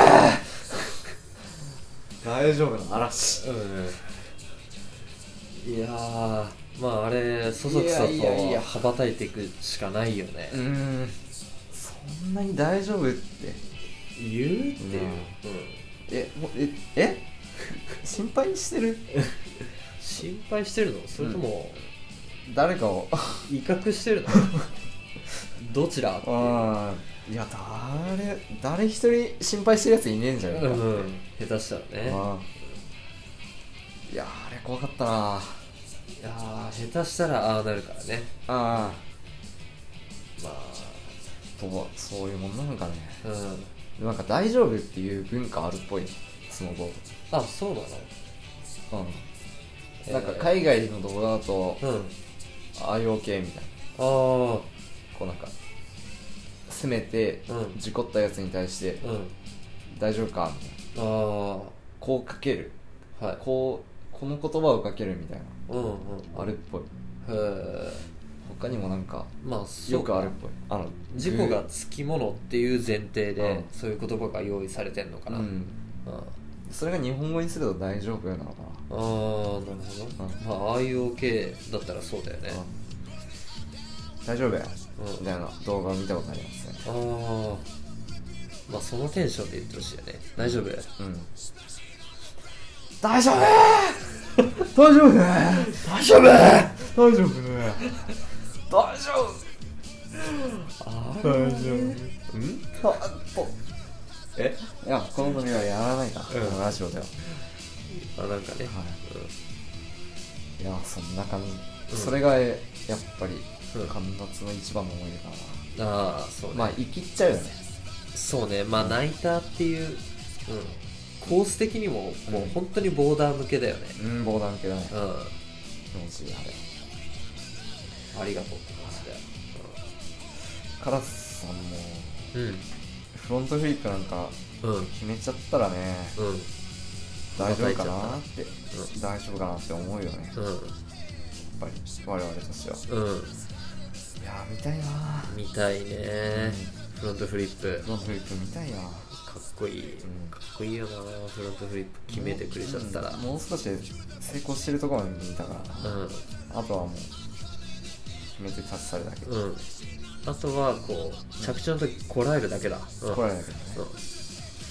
大丈夫な嵐
うん、いやー、まああれ、そそくさと
いやいやいや
羽ばたいていくしかないよね
う。ーんそんなに大丈夫って
言うっていう、
うん
うん、
えもうええ心配してる
心配してるの、それとも。
誰かを
威嚇して
(laughs)
るのどちらっていう、
うんいや誰誰一人心配してるやついねえんじゃねえか、
うん、下手したらね
うんいやあれ怖かったない
やー下手したらああなるからね
ああ
まあ
とそういうもんなのかね
うん
なんか大丈夫っていう文化あるっぽいスノボー
あそうなの
ドうん、
えー
なんか海外の動画だと
うん
IOK みたい
ああ
なこうなんか攻めて
うん
事故ったやつに対して
うん
「大丈夫か?」みたいな
ああ
こうかける
はい
こうこの言葉をかけるみたいな
うんうん
あれっぽい
へえ
他にもなんか
まあそう
よくあるっぽいあの
事故がつきものっていう前提で
うん
そういう言葉が用意されてんのか
う
な、うん
ん
あ
それが日本語にすると大丈夫なのか
あーなる
うん
ほど、まあ IOK だったらそうだよね
な、うん大丈夫や
うん
みたいな動画を見たことありますね
ああまあそのテンションで言ってほしいよね大丈夫
うん大丈夫大丈夫ね大丈夫大丈夫ね大丈夫
あ
大丈夫ん
え
いやこのノリはやらないか
うん
ら、このラジオでは、
あなんかね
いやそんな感じ、それがえやっぱり
うん
神夏の一番の思い出かな、
ああそうね、
まあ生きっちゃうよね
そうねまあナイターっていう、うん、コース的にももう本当にボーダー向けだよね
うん防弾系だね
うん
気持ちいいあれ
ありがとうって感じだよ
カラスさんもフロントフリップなんか
うんうん
決めちゃったらね
うん
大丈夫かなって、
う
大丈夫かなって思うよねやっ
う
ぱり我々としては
んうん
いやー見たいなー
見たいねフロントフリップ
フロントフリップ見たいなー
かっこいい
ん
かっこいいよなフロントフリップ決めてくれちゃったら
うんもう少しで成功してるところまで見たからな
うん
あとはもう決めて立ち去るだけ、
うん、あとはこう着地の時こらえるだけだ、うん、
来られないけどね
そう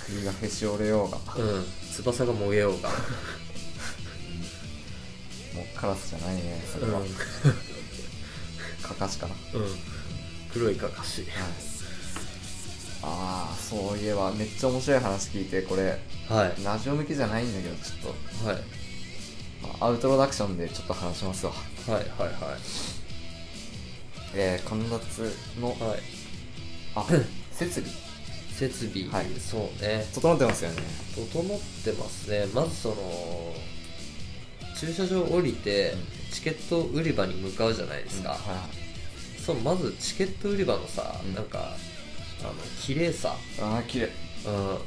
身がへし折れようが
うん翼が燃えよう (laughs) が
もうカラスじゃないねそれは、カカシかなはい
うん、黒いかかし
ああそういえばめっちゃ面白い話聞いてこれ
はい
ラジオ向けじゃないんだけどちょっ
はい
とまあアウトロダクションでちょっと話しますわ
はいはいはい
えー、神立の
はい
(laughs) あ設備
設備、
はい
そうね
整ってますよね
整ってますねまずその駐車場降りて、
う
チケット売り場に向かうじゃないですか、
は
そうまずチケット売り場のさ、
うん
なんかあの綺麗さ
いはいああ綺麗
うん
ウ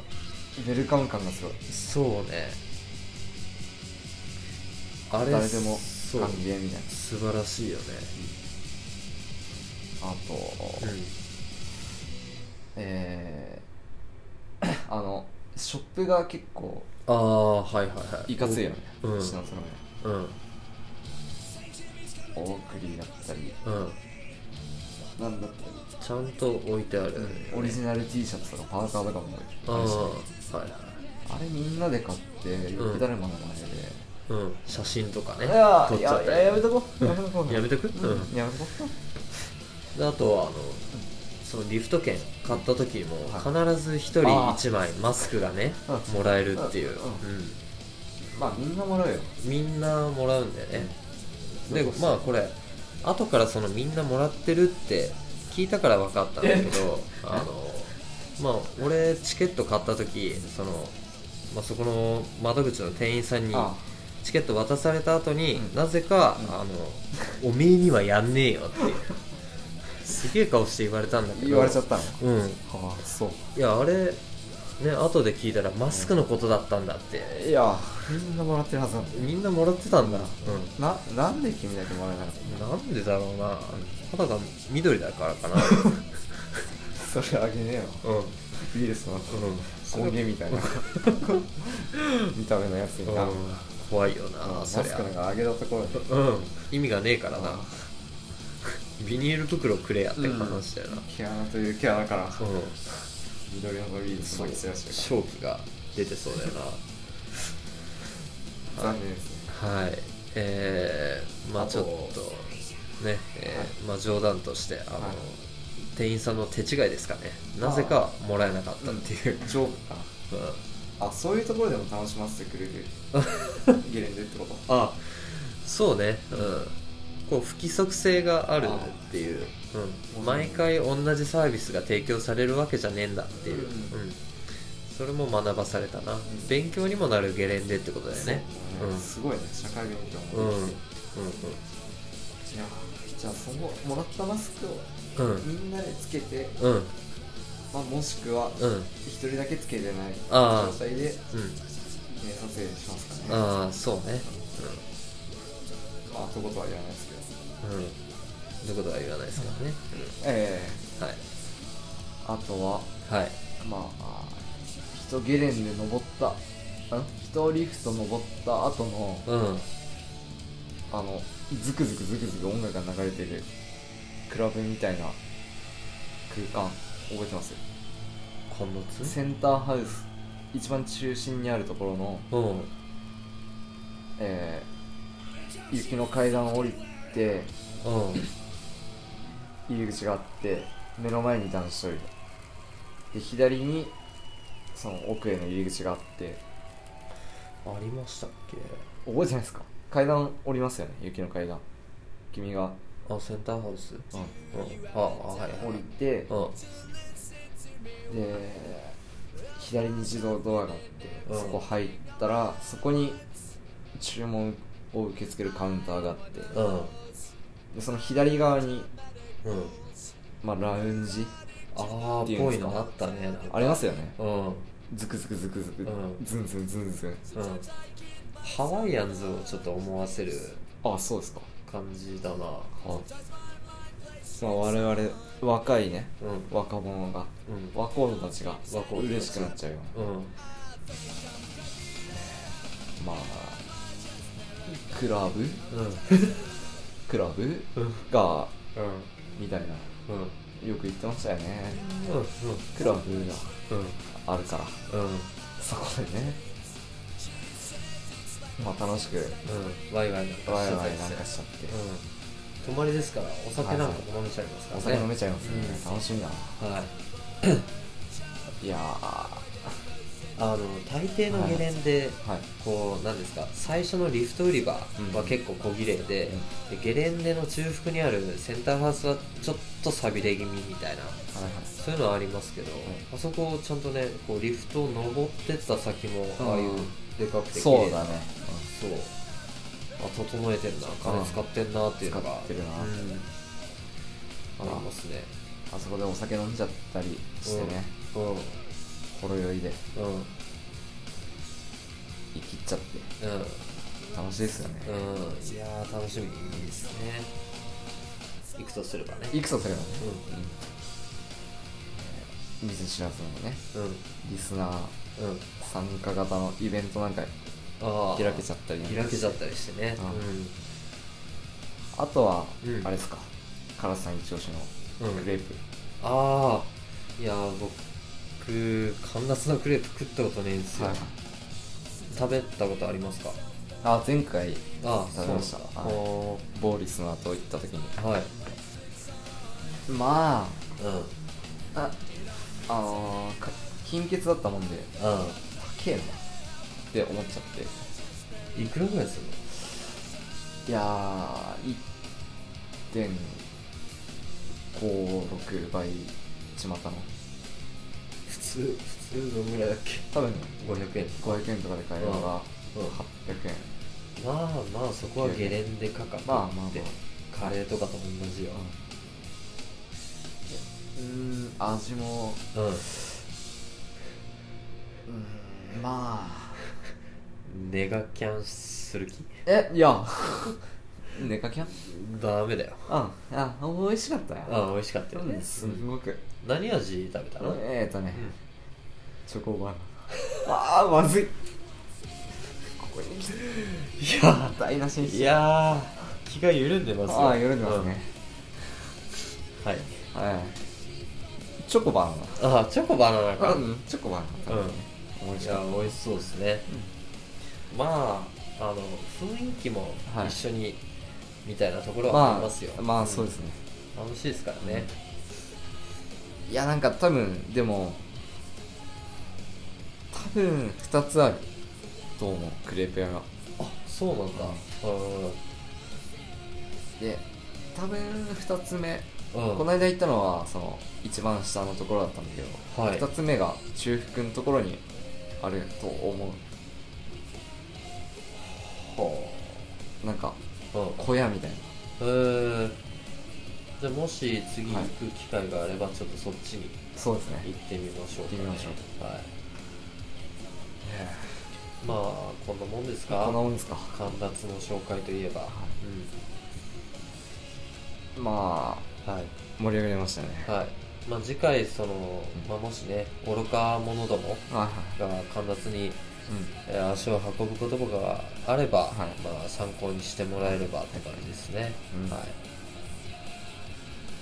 ェルカム感がすごい
そうねあれ
誰でも
そう
歓迎みたいな
素晴らしいよね
あと、えー、あのショップが結構
ああはいはいはい
いかついよね
うん
うちのそのね
うん
オークリーだったり
うん
なんだったり
ちゃんと置いてある、
オリジナル T シャツとかパーカーとかも
ああ
あるし
はいはい
あれみんなで買ってよく誰もの前で、
うん写真とかね
いや
撮っ
い
ちゃ
や
っ
い
た
や
り
やめとこうやめとこう
やめとくうん、
うんやめとこ
であとはあのそのリフト券買った時も必ず1人
あー
1枚マスクがね
う
もらえるっていう、
うん
うん
うまあみんなもらうよ
みんなもらうんだよね、で
そうそう
まあこれ後からそのみんなもらってるって聞いたから分かったんだけどあのまあ俺チケット買った時その、まあ、そこの窓口の店員さんに
あ
チケット渡された後に、
うん
なぜか、
うん
あの「おめえにはやんねえよ」っていう (laughs) すげえ顔して言われたんだけど
言われちゃったの
うん
はあそう
いやあれね後で聞いたらマスクのことだったんだって
いやみんなもらってるはずなんだよ
みんなもらってたんだ、うん、
ななんで君だけもらえなかっ
なんでだろうな肌が緑だから
(laughs)
かな
たそれあげねえよ
うんうん
ウイルスの根源みた
(laughs)
いな見た目のやつにな、
うん
うん
怖いよな
マ
そ
ス
り
ク
ゃ
なんかあげたところで
うん意味がねえからな
あ
(laughs) ビニール袋くれやって話だよな
毛穴という毛穴から
うん
緑のウイルス
そ
の
う
出しい
勝負が出てそうだよ
残念ですね
なはいえー、まあ
あと
ちょっとねえーまあ冗談としてあの、
はい
店員さんの手違いですかねなぜかもらえなかったっていう、
ジョークか
うん
あそういうところでも楽しませて
(laughs)
くれるゲレンデってこと
あそうねうんこう不規則性があるっていう、うん、毎回同じサービスが提供されるわけじゃねえんだっていう、う
うん
それも学ばされたな勉強にもなるゲレンデってことだよね
そうだ
うん
すごいね社会勉強
うん
も
うん
いやじゃあそのもらったマスクを
うんうん
みんなでつけて、
うんうん
まあ、もしくは
うん
一人だけつけてない
あー
状態で記念撮影しますかね
ああそうね
まあそういうことは言わないですけ
う
ど
んうんそういうことは言わないですからね、
え
はい
えあとは
はい
まあ人ゲレンデ登ったん人リフト登った後の
うん
あのズクズクズクズク音楽が流れてるクラブみたいな空間覚えてます
今月
センターハウス一番中心にあるところの、
うん
えー雪の階段を降りて
うん
入り口があって目の前に男子トイレで左にその奥への入り口があって
ありましたっけ
覚えてないですか階段降りますよね雪の階段君が、
あセンターハウス
うん
うんああはい
降りて
うん
で左に自動ドアがあって、
うん
そこ入ったらそこに注文を受け付けるカウンターがあって
うん
でその左側に、
うん
まあ、ラウンジ
ああ
っていうん
ぽ
で
い
すか
のあったねなんか
ありますよね
うんうん
ズクズクズクズク、
うん
ズンズンズンズン
ハワイアンズをちょっと思わせる
あそうですか
感じだな
あまあ我々若いね
うん
若者が
うん
若者たちが
若者たち
嬉しくなっちゃうよう
うん
なまあクラブ
うん
クラブ
うん
が
うん
みたいな
うん
よく言ってましたよね
うん
クラブ
うん
があるから
うんうん
そこでねまあ楽しく
ワイワイなんか
ワ
し
イ
てた
ワ
り
イなん
して
かしちゃって
うん泊まりですからお酒なんかも飲めちゃいますか
お
ら
酒
ね、
飲めちゃいますよね
う
楽しみだな
はい
いやーは
あの大抵のゲレンデ、
い
こうなんですか最初のリフト売り場は結構小綺麗で,、でゲレンデの中腹にあるセンターハウスはちょっとさびれ気味みたいな
はいはい
そういうのはありますけど、あそこをちゃんとねこうリフトを登ってった先もああいうでかくて綺
そう
麗な
だね
そうあ整えてるな金使ってんなっていう
使
の
っ
が、
てるな
うん、ありますね
あそこでお酒飲んじゃったりしてね
うん
ほろ酔いで
うん
生きっちゃって
うん
楽しいですよね
うんいやー楽しみですね行くとすればね
いくつそれはね
う
見ず知らずの
ん
ね
うん
リスナ
う
ー
ん
参加型のイベントなんか
ああ
開けちゃったりなんか
開けちゃったりしてね
あ
う
あとは、
うん
あれですか唐津さん一押し
ん、う
の
ん
クレープ、
ああいやー僕カンナスのクレープ食ったことねえんですよ、
はい
食べたことありますか
あ前回
ああ
食べました
そうなんだ
はいボーリスの後行った時に
あーはい
ま
うんうん
あああのーか貧血だったもんで高えなって思っちゃっ
いくらぐらいするの
ていやー1.56倍ちまったの
普通普通どんぐらいだっけ
多分
500円
500円とかで買えるのが
うんうん
800円
まあまあそこはゲレンデ価格って、
まあまあまあ
カレーとかと同じよ、
うん味も
うん
うんまあ
ネガキャンする気
えいや寝かけやん
ダメだよ
ああ美味しかったよ
ああ美味しかった
で
よ
も
ね、
ねすごく
何味食べたの、
えーっとね
うん
チョコバナナああまずいここに来
い
て
や
台無しにし
い
て
やー気が緩んでますよ
ああ緩んでますね、、
うんはい
はいチョコバ
ああチョコバナナ
ナナ
か、
うんチョコバナナ
うん
美味
い
しかった
や美味しそうですね、まああの雰囲気も
はい
一緒に、みたいなところはあり
ま
ますよ、、
あまあそうですすね
楽しいですからね
いやなんか多分でも多分2つあると思うクレープ屋が
あそうなんだうん
で多分2つ目、
うん
この間行ったのはその一番下のところだったんだけど、
はい
2つ目が中腹のところにあると思うほうなんか
うん
小屋みたいな
えー、じゃあもし次行く機会があればちょっとそっちに
そうですね
行ってみましょうか、ね、
行ってみましょ
うはいまあこんなもんですか
こんなもんですか
間奪の紹介といえば、
ま
うん、はい
あ盛り上がりましたね
はい、まあ、次回その、まあ、もしね愚か者ども
はいはい
が間奪に、
うん
えー足を運ぶことがあれば、
はい
まあ、参考にしてもらえればって感じですね、
うん
はい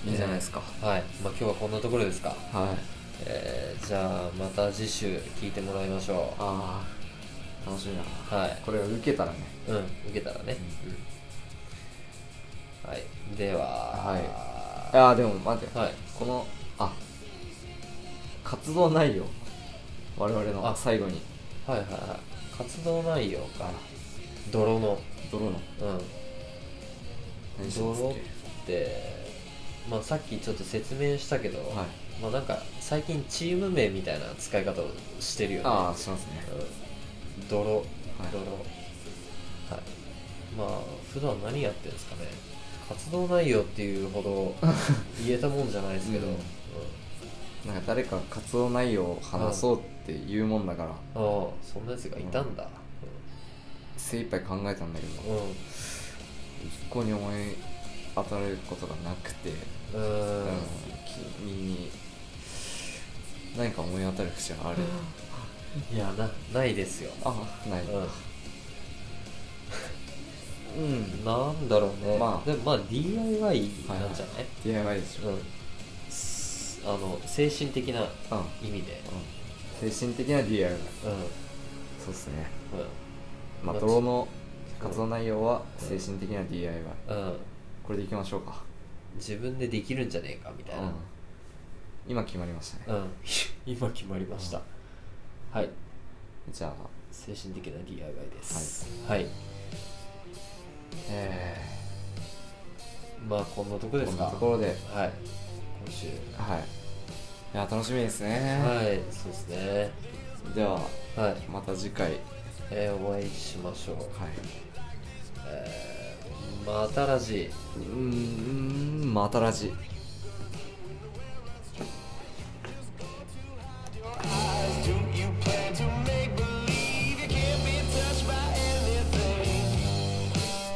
いいじゃないですか、
はいまあ、今日はこんなところですか、
はい
えーじゃあまた次週聞いてもらいましょう
ああ楽しみだな
はい
これを受けたらね
うん受けたらね、うんはいではは
ああでも待って、
はい
このあ活動内容我々の
あ
最後に
はいはいはい活動内容か泥の
ドローの
うん
何してますっ
泥っ
け
てまあさっきちょっと説明したけど、
はい
まあなんか最近チーム名みたいな使い方をしてるよね
ああしますね
うん泥、
はい
泥はいまあ普段何やってるんですかね活動内容っていうほど
(laughs)
言えたもんじゃないですけど、
う
うんん
なんか誰か活動内容を話そうって言うもんだから
ああそんなやつがいたんだ
精一杯考えたんだけど
うん、うん
一向に思い当たることがなくて、
うー
うんん、君に何か思い当たる節はある
いやなないですよ
あないうん
うんなんだろうね
まあ
でもまあ DIY なんじゃない、
DIY でしょ
うんあの精神的な
う
意味で、
ん。精神的な DI だ。
うん
そうですね。
う
まあ、トロの活動内容は精神的な DIY。
んうん、
これでいきましょうか。
自分でできるんじゃねえかみたい
うん。今決まりましたね。
な、うん (laughs) 今決まりました、はい
じゃあ、
精神的な DIY ですはい、
え
まあこんなとこ
ー、
で
こ
す
ん
か
なところで、
はい今週
はい。いや、楽しみですね。
はいそうですね
では、
はい、
また次回。はい。
えーお会いしましょう、えーまたらじ
うーん、またラジ。